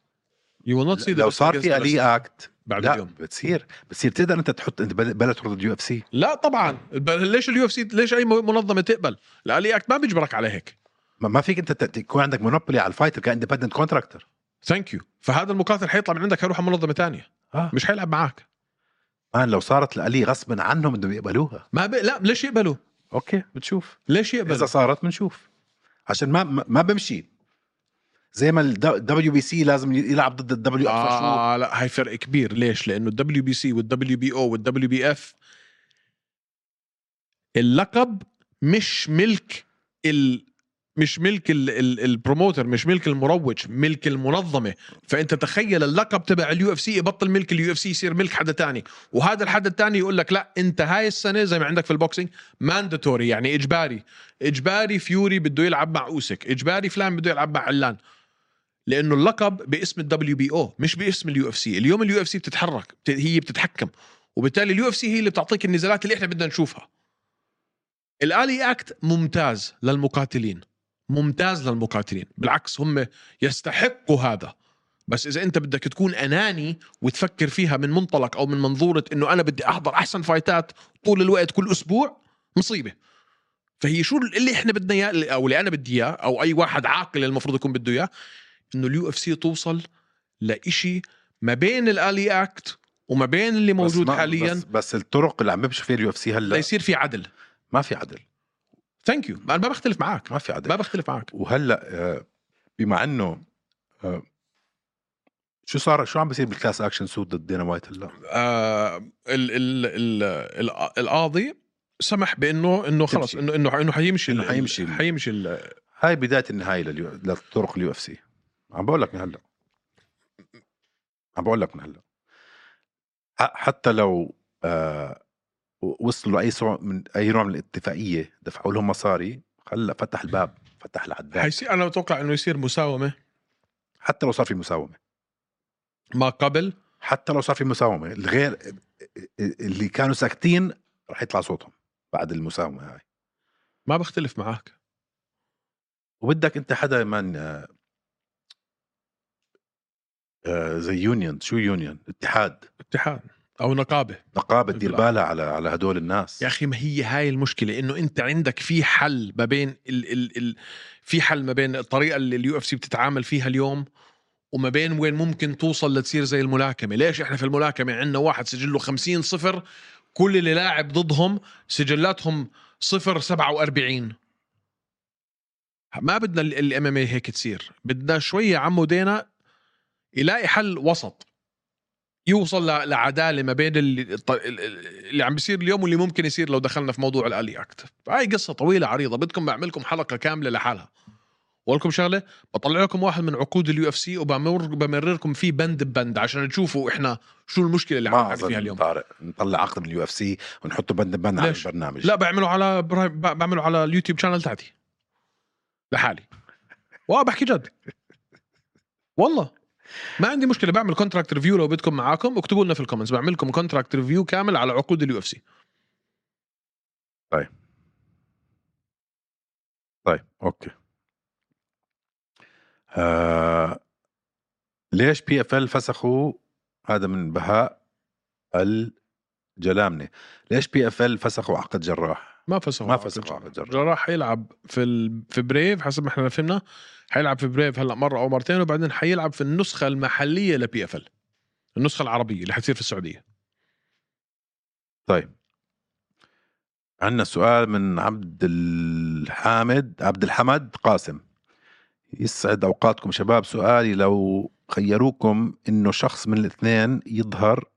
[SPEAKER 2] يو ويل نوت سي
[SPEAKER 1] لو صار في ألي أكت
[SPEAKER 2] بعد
[SPEAKER 1] لا
[SPEAKER 2] اليوم
[SPEAKER 1] بتصير بتصير تقدر أنت تحط أنت بل- بلا ترد اليو اف سي
[SPEAKER 2] لا طبعا بل ليش اليو اف سي ليش اي منظمه تقبل الالي اكت ما بيجبرك على هيك
[SPEAKER 1] ما- ما فيك أنت ت- تكون عندك مونوبولي على الفايتر كاندبندنت كونتراكتر
[SPEAKER 2] ثانك يو فهذا المقاتل حيطلع من عندك حيروح على منظمه تانية
[SPEAKER 1] آه.
[SPEAKER 2] مش حيلعب معك
[SPEAKER 1] مان لو صارت لألي غصبا عنهم بدهم يقبلوها
[SPEAKER 2] ما بي... لا ليش يقبلوا
[SPEAKER 1] أوكي بتشوف
[SPEAKER 2] ليش
[SPEAKER 1] اذا
[SPEAKER 2] يقبلوا
[SPEAKER 1] صارت بنشوف عشان ما ما ما بمشي زي ما الدبليو بي سي لازم يلعب ضد الدبليو اكثر شهور
[SPEAKER 2] اه لا هاي فرق كبير ليش؟ لانه الدبليو بي سي والدبليو بي او والدبليو بي اف اللقب مش ملك ال مش ملك ال ال البروموتر مش ملك المروج ملك المنظمه فانت تخيل اللقب تبع اليو اف سي يبطل ملك اليو اف سي يصير ملك حدا تاني وهذا الحد التاني يقول لك لا انت هاي السنه زي ما عندك في البوكسينج مانداتوري يعني اجباري اجباري فيوري بده يلعب مع اوسك اجباري فلان بده يلعب مع علان لانه اللقب باسم الدبليو بي او مش باسم اليو اف سي اليوم اليو اف سي بتتحرك بت- هي بتتحكم وبالتالي اليو اف سي هي اللي بتعطيك النزالات اللي احنا بدنا نشوفها الالي اكت ممتاز للمقاتلين ممتاز للمقاتلين بالعكس هم يستحقوا هذا بس اذا انت بدك تكون اناني وتفكر فيها من منطلق او من منظوره انه انا بدي احضر احسن فايتات طول الوقت كل اسبوع مصيبه فهي شو اللي احنا بدنا اياه او اللي انا بدي اياه او اي واحد عاقل المفروض يكون بده اياه انه اليو اف سي توصل لإشي ما بين الالي اكت وما بين اللي موجود
[SPEAKER 1] بس ما-
[SPEAKER 2] حاليا
[SPEAKER 1] بس, بس الطرق اللي عم بمشي فيها اليو اف سي هلا
[SPEAKER 2] ليصير في عدل
[SPEAKER 1] ما في عدل
[SPEAKER 2] ثانك يو انا ما بختلف معك
[SPEAKER 1] ما في عدل
[SPEAKER 2] ما بختلف معك
[SPEAKER 1] وهلا آه، بما انه آه، شو صار شو عم بيصير بالكلاس اكشن سود ضد دينا وايت هلا
[SPEAKER 2] آه ال ال ال ال القاضي سمح بانه انه خلص
[SPEAKER 1] تمشي.
[SPEAKER 2] انه انه انه حيمشي
[SPEAKER 1] إنه
[SPEAKER 2] ال-
[SPEAKER 1] حيمشي ال-
[SPEAKER 2] حيمشي ال-
[SPEAKER 1] هاي بدايه النهايه لليو... لطرق اليو اف سي عم بقول لك من هلا عم بقول لك من هلا ح- حتى لو آه و- وصلوا لاي سوع من اي نوع من الاتفاقيه دفعوا لهم مصاري هلا فتح الباب فتح العداد
[SPEAKER 2] حيصير انا بتوقع انه يصير مساومه
[SPEAKER 1] حتى لو صار في مساومه
[SPEAKER 2] ما قبل
[SPEAKER 1] حتى لو صار في مساومه الغير اللي كانوا ساكتين رح يطلع صوتهم بعد المساومه هاي
[SPEAKER 2] ما بختلف معك
[SPEAKER 1] وبدك انت حدا من آه، آه، زي يونيون شو يونيون اتحاد
[SPEAKER 2] اتحاد او نقابه
[SPEAKER 1] نقابه دير
[SPEAKER 2] بالعكس.
[SPEAKER 1] بالها على على هدول الناس
[SPEAKER 2] يا اخي ما هي هاي المشكله انه انت عندك في حل ما بين ال ال ال في حل ما بين الطريقه اللي اليو اف سي بتتعامل فيها اليوم وما بين وين ممكن توصل لتصير زي الملاكمه ليش احنا في الملاكمه عندنا واحد سجله 50 صفر كل اللي لاعب ضدهم سجلاتهم صفر 47 ما بدنا الام ام هيك تصير بدنا شويه عمو دينا يلاقي حل وسط يوصل ل- لعداله ما بين اللي, الط- ال- ال- اللي عم بيصير اليوم واللي ممكن يصير لو دخلنا في موضوع الالي اكت هاي قصه طويله عريضه بدكم بعمل لكم حلقه كامله لحالها بقول لكم شغله بطلع لكم واحد من عقود اليو اف سي وبمر بمرركم فيه بند بند عشان تشوفوا احنا شو المشكله اللي عم
[SPEAKER 1] ما
[SPEAKER 2] نعاني
[SPEAKER 1] أظن
[SPEAKER 2] فيها اليوم
[SPEAKER 1] طارق نطلع عقد من اليو اف سي ونحطه بند بند على
[SPEAKER 2] ليش؟
[SPEAKER 1] البرنامج
[SPEAKER 2] لا بعمله على برا- ب- بعمله على اليوتيوب شانل تاعتي لحالي واه بحكي جد والله ما عندي مشكله بعمل كونتراكت ريفيو لو بدكم معاكم اكتبوا لنا في الكومنتس بعمل لكم كونتراكت ريفيو كامل على عقود اليو اف سي
[SPEAKER 1] طيب اوكي آه ليش بي اف ال فسخوا هذا من بهاء الجلامنه ليش بي اف ال فسخوا عقد جراح
[SPEAKER 2] ما فسخوا
[SPEAKER 1] ما
[SPEAKER 2] عقد
[SPEAKER 1] فسخوا عقد جراح
[SPEAKER 2] جراح حيلعب في ال... في بريف حسب ما احنا فهمنا حيلعب في بريف هلا مره او مرتين وبعدين حيلعب في النسخه المحليه لبي اف ال النسخه العربيه اللي حتصير في السعوديه
[SPEAKER 1] طيب عندنا سؤال من عبد الحامد عبد الحمد قاسم يسعد اوقاتكم شباب سؤالي لو خيروكم انه شخص من الاثنين يظهر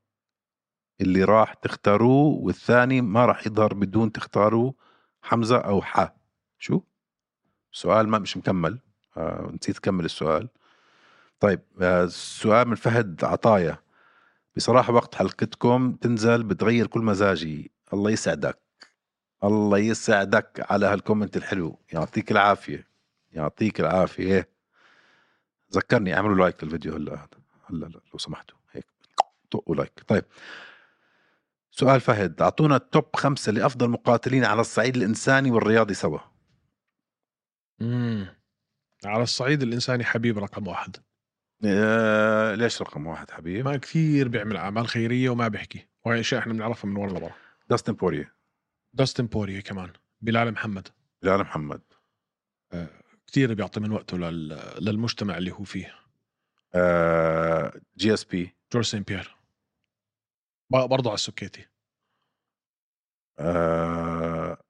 [SPEAKER 1] اللي راح تختاروه والثاني ما راح يظهر بدون تختاروا حمزه او ح شو سؤال ما مش مكمل آه نسيت اكمل السؤال طيب آه السؤال من فهد عطايا بصراحة وقت حلقتكم تنزل بتغير كل مزاجي الله يسعدك الله يسعدك على هالكومنت الحلو يعطيك العافية يعطيك العافية إيه؟ ذكرني اعملوا لايك للفيديو هلا هذا هلا هلا لو سمحتوا هيك طقوا لايك طيب سؤال فهد اعطونا التوب خمسة لأفضل مقاتلين على الصعيد الإنساني والرياضي سوا
[SPEAKER 2] مم. على الصعيد الانساني حبيب رقم واحد
[SPEAKER 1] آه ليش رقم واحد حبيب
[SPEAKER 2] ما كثير بيعمل اعمال خيريه وما بيحكي وهي اشياء احنا بنعرفها من ورا لورا
[SPEAKER 1] داستن بوريه
[SPEAKER 2] داستن بوريا كمان بلال محمد
[SPEAKER 1] بلال محمد
[SPEAKER 2] كثير بيعطي من وقته لل... للمجتمع اللي هو فيه
[SPEAKER 1] آه جي اس بي
[SPEAKER 2] جورج سين بيير ب- برضه على السكيتي
[SPEAKER 1] آه،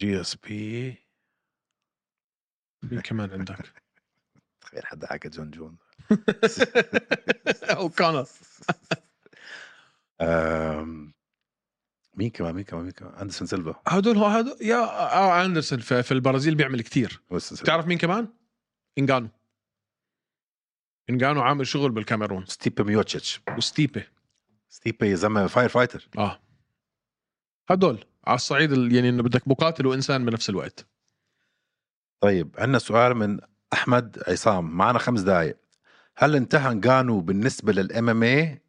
[SPEAKER 1] جي اس بي
[SPEAKER 2] مين كمان عندك؟
[SPEAKER 1] تخيل حدا حكى جون جون
[SPEAKER 2] او كونر
[SPEAKER 1] آم، مين كمان مين كمان مين كمان اندرسون سيلفا
[SPEAKER 2] هدول هو هدول يا آه اندرسون في, في البرازيل بيعمل كتير
[SPEAKER 1] أندرسون سيلفا.
[SPEAKER 2] بتعرف مين كمان؟ انجانو انجانو عامل شغل بالكاميرون
[SPEAKER 1] ستيبي ميوتشيتش
[SPEAKER 2] وستيبي
[SPEAKER 1] ستيبي يا زلمه فاير فايتر
[SPEAKER 2] اه هدول على الصعيد ال- يعني انه بدك مقاتل وانسان بنفس الوقت
[SPEAKER 1] طيب عندنا سؤال من احمد عصام معنا خمس دقائق هل انتهى انغانو بالنسبه للام ام اي؟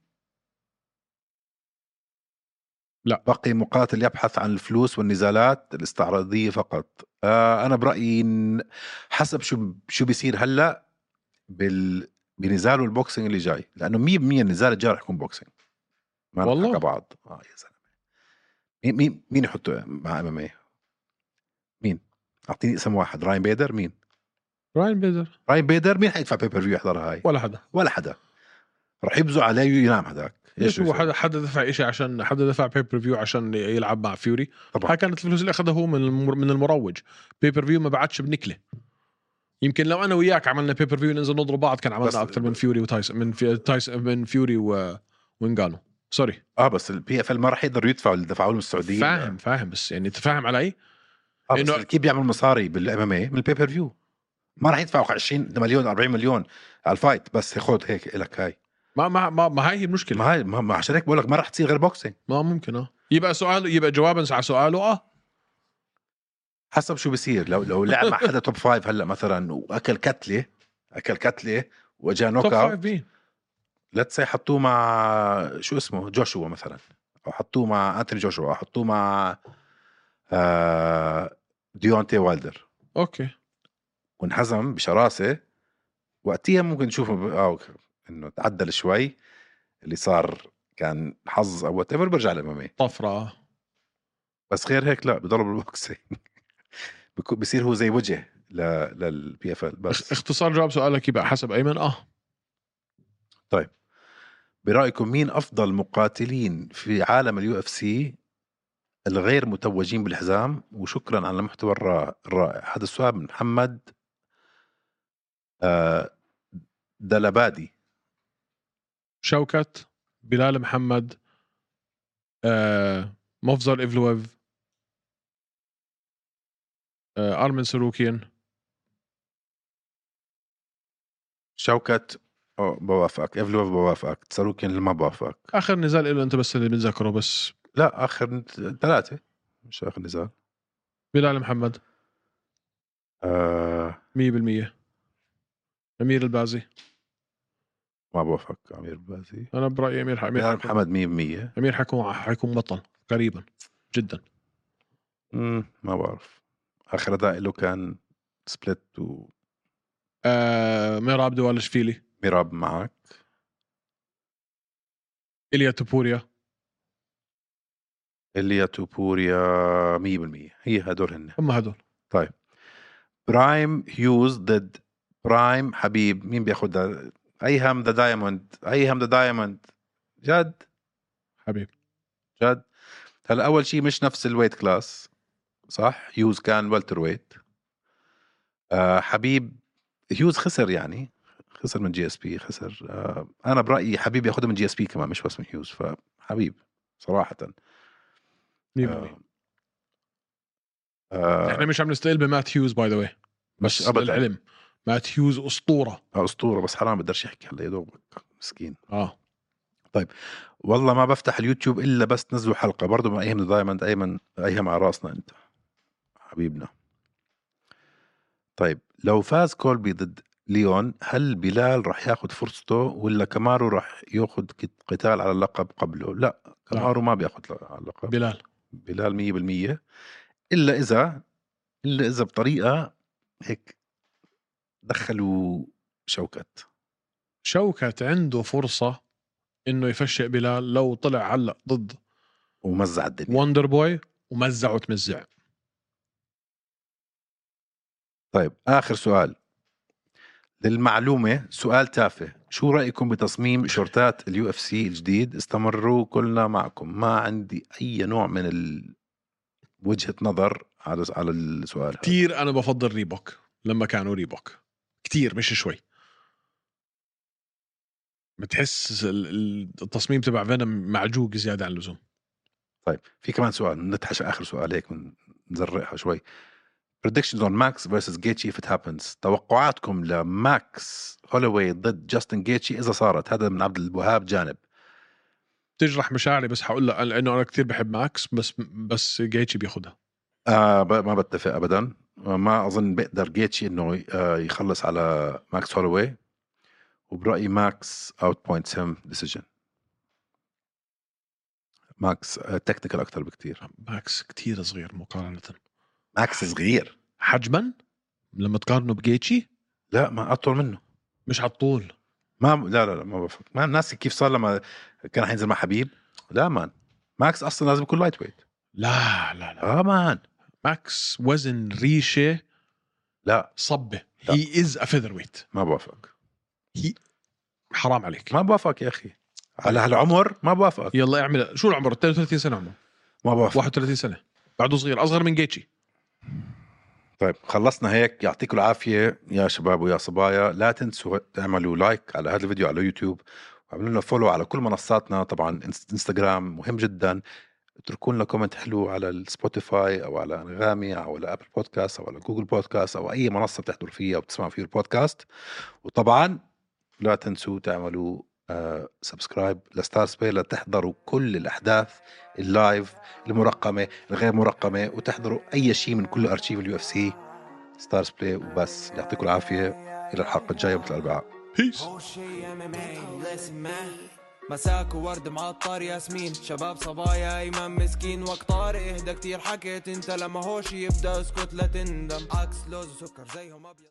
[SPEAKER 2] لا.
[SPEAKER 1] بقي مقاتل يبحث عن الفلوس والنزالات الاستعراضيه فقط آه انا برايي إن حسب شو شو بيصير هلا بال بنزاله البوكسينج اللي جاي لانه 100% النزال الجاي رح يكون بوكسينج ما رح
[SPEAKER 2] والله؟
[SPEAKER 1] نحكى بعض اه يا زلمه مين مين مين يحطه مع ام ام اي؟ مين؟ اعطيني اسم واحد راين بيدر مين؟
[SPEAKER 2] راين بيدر
[SPEAKER 1] راين بيدر مين حيدفع بيبر فيو يحضرها هاي؟
[SPEAKER 2] ولا حدا
[SPEAKER 1] ولا حدا رح يبزوا عليه ينام هذاك
[SPEAKER 2] ليش هو
[SPEAKER 1] يسوي؟
[SPEAKER 2] حدا حدا دفع شيء عشان حدا دفع بيبر فيو عشان يلعب مع فيوري
[SPEAKER 1] طبعا
[SPEAKER 2] هاي كانت الفلوس اللي اخذها هو من المر- من المروج بيبر فيو ما بعتش بنكله يمكن لو انا وياك عملنا بيبر فيو ننزل نضرب بعض كان
[SPEAKER 1] بس-
[SPEAKER 2] عملنا اكثر من فيوري وتايس من في تايس من فيوري و... وانجانو سوري
[SPEAKER 1] اه بس البي اف ال ما رح يقدروا يدفعوا اللي دفعوا لهم السعوديين
[SPEAKER 2] فاهم فاهم بس يعني انت فاهم علي؟
[SPEAKER 1] آه بس
[SPEAKER 2] إنه-
[SPEAKER 1] كيف بيعمل مصاري بالام ام اي من البيبر فيو ما رح يدفعوا 20 مليون 40 مليون على الفايت بس خذ هيك لك هاي
[SPEAKER 2] ما ما ما, ما هاي هي المشكله
[SPEAKER 1] ما هاي ما ما- عشان هيك بقول لك ما رح تصير غير بوكسينج
[SPEAKER 2] ما ممكن اه يبقى سؤال يبقى جوابا على سؤاله اه
[SPEAKER 1] حسب شو بصير لو لو لعب مع حدا توب فايف هلا مثلا واكل كتله اكل كتله واجا نوك
[SPEAKER 2] توب
[SPEAKER 1] اوت
[SPEAKER 2] فايف مين؟
[SPEAKER 1] ليتس سي حطوه مع شو اسمه جوشوا مثلا او حطوه مع انتوني جوشوا او حطوه مع آه، ديونتي والدر
[SPEAKER 2] اوكي
[SPEAKER 1] وانهزم بشراسه وقتها ممكن نشوفه ب... آه، أوكي. انه تعدل شوي اللي صار كان حظ او وات ايفر برجع للامامي
[SPEAKER 2] طفره آه.
[SPEAKER 1] بس غير هيك لا بضل بالبوكسينج بكو- بصير هو زي وجه ل... للبي اف ال
[SPEAKER 2] اخ-
[SPEAKER 1] بس
[SPEAKER 2] اختصار جواب سؤالك يبقى حسب ايمن اه
[SPEAKER 1] برايكم مين افضل مقاتلين في عالم اليو اف سي الغير متوجين بالحزام وشكرا على المحتوى الرا- الرائع هذا السؤال من محمد آه، دلبادي
[SPEAKER 2] شوكت بلال محمد آه مفضل ايفلويف آه ارمن سلوكين
[SPEAKER 1] شوكت أو بوافقك ايفلوف بوافقك تساروكين اللي ما بوافقك
[SPEAKER 2] اخر نزال له انت بس اللي بنذكره بس
[SPEAKER 1] لا اخر ثلاثه مش اخر نزال
[SPEAKER 2] بلال محمد
[SPEAKER 1] آه
[SPEAKER 2] 100% امير البازي
[SPEAKER 1] ما بوافقك امير بازي
[SPEAKER 2] انا برايي امير ح- امير
[SPEAKER 1] بلال
[SPEAKER 2] حكون-
[SPEAKER 1] محمد 100%
[SPEAKER 2] امير حيكون حيكون بطل قريبا جدا
[SPEAKER 1] مم، ما بعرف اخر اداء له كان سبليت وميراب
[SPEAKER 2] آه ميراب دوالشفيلي
[SPEAKER 1] معك
[SPEAKER 2] اليا توبوريا
[SPEAKER 1] اللي توبوريا 100% هي هدول هن
[SPEAKER 2] هم هدول
[SPEAKER 1] برايم هيوز ضد برايم حبيب مين بياخذها اي هم ذا دايموند اي هم ذا دايموند جد
[SPEAKER 2] حبيب
[SPEAKER 1] جد هلا اول شيء مش نفس الويت كلاس صح هيوز كان والتر ويت آه حبيب هيوز خسر يعني خسر من جي اس بي خسر آه انا برايي حبيب ياخذها من جي اس بي كمان مش بس من هيوز فحبيب صراحه
[SPEAKER 2] 100%
[SPEAKER 1] آه آه
[SPEAKER 2] احنا مش عم نستقل بمات هيوز باي ذا واي
[SPEAKER 1] مش
[SPEAKER 2] بس
[SPEAKER 1] أبداً.
[SPEAKER 2] العلم مات هيوز اسطوره
[SPEAKER 1] اسطوره بس حرام بقدرش يحكي هلا يا دوبك مسكين
[SPEAKER 2] اه
[SPEAKER 1] والله ما بفتح اليوتيوب الا بس نزلوا حلقه برضه مع ايهم دايما ايمن ايهم على راسنا انت حبيبنا طيب لو فاز كولبي ضد ليون هل بلال راح ياخذ فرصته ولا كمارو راح ياخذ كت- قتال على اللقب قبله لا كمارو ما بياخذ على اللقب
[SPEAKER 2] بلال
[SPEAKER 1] بلال 100% الا اذا الا اذا بطريقه هيك دخلوا شوكت
[SPEAKER 2] شوكت عنده فرصه انه يفشق بلال لو طلع هلا ضد
[SPEAKER 1] ومزع الدنيا
[SPEAKER 2] وندر بوي ومزع وتمزع
[SPEAKER 1] طيب آخر سؤال للمعلومة سؤال تافه شو رأيكم بتصميم شورتات اليو اف سي الجديد استمروا كلنا معكم ما عندي أي نوع من ال... وجهة نظر على على السؤال هذا.
[SPEAKER 2] كثير انا بفضل ريبوك لما كانوا ريبوك كتير مش شوي بتحس ال- ال- التصميم تبع فينوم معجوق زياده عن اللزوم
[SPEAKER 1] طيب في كمان سؤال نتحش اخر سؤال هيك ون- نزرقها شوي predictions on Max versus Gaethje if it happens توقعاتكم لماكس هولوي ضد جاستن جيتشي اذا صارت هذا من عبد الوهاب جانب
[SPEAKER 2] تجرح مشاعري بس حقول لك لانه انا كتير بحب ماكس بس بس جيتشي بياخدها
[SPEAKER 1] آه ب- ما بتفق ابدا ما اظن بيقدر جيتشي انه ي- آه، يخلص على ماكس هولوي وبرايي ماكس اوت بوينتس هيم ديسيجن ماكس تكنيكال اكثر بكثير
[SPEAKER 2] ماكس كتير صغير مقارنه
[SPEAKER 1] ماكس صغير
[SPEAKER 2] حجما لما تقارنه بجيتشي
[SPEAKER 1] لا ما اطول منه
[SPEAKER 2] مش على الطول
[SPEAKER 1] ما لا لا لا ما بفهم ما ناسي كيف صار لما كان رح ينزل مع حبيب لا مان ماكس اصلا لازم يكون لايت ويت
[SPEAKER 2] لا لا لا
[SPEAKER 1] اه مان
[SPEAKER 2] ماكس وزن ريشه
[SPEAKER 1] لا
[SPEAKER 2] صبه
[SPEAKER 1] لا.
[SPEAKER 2] هي از ا فيذر ويت
[SPEAKER 1] ما بوافقك
[SPEAKER 2] حرام عليك
[SPEAKER 1] ما بوافقك يا اخي على هالعمر ما بوافقك
[SPEAKER 2] يلا اعمل شو العمر 32 سنه عمره
[SPEAKER 1] ما بوافق
[SPEAKER 2] 31 سنه بعده صغير اصغر من جيتشي
[SPEAKER 1] طيب خلصنا هيك يعطيكم العافيه يا شباب ويا صبايا لا تنسوا تعملوا لايك على هذا الفيديو على يوتيوب واعملوا لنا فولو على كل منصاتنا طبعا إنس- انستغرام مهم جدا اتركوا لنا كومنت حلو على السبوتيفاي او على انغامي او على ابل بودكاست او على جوجل بودكاست او اي منصه بتحضر فيها وبتسمع فيها البودكاست وطبعا لا تنسوا تعملوا آه سبسكرايب لستار سباي لتحضروا كل الاحداث اللايف المرقمه الغير مرقمه وتحضروا اي شيء من كل ارشيف اليو اف سي ستارز بلاي وبس يعطيكم العافيه الى الحلقه الجايه مثل الاربعاء
[SPEAKER 2] بيس
[SPEAKER 3] هو شي ام ام لسن مان مساك وورد معطر ياسمين شباب صبايا ايمن مسكين وقت طارق اهدى كتير حكيت انت لما هوش يبدا اسكت لا تندم عكس لوز وسكر زيهم ابيض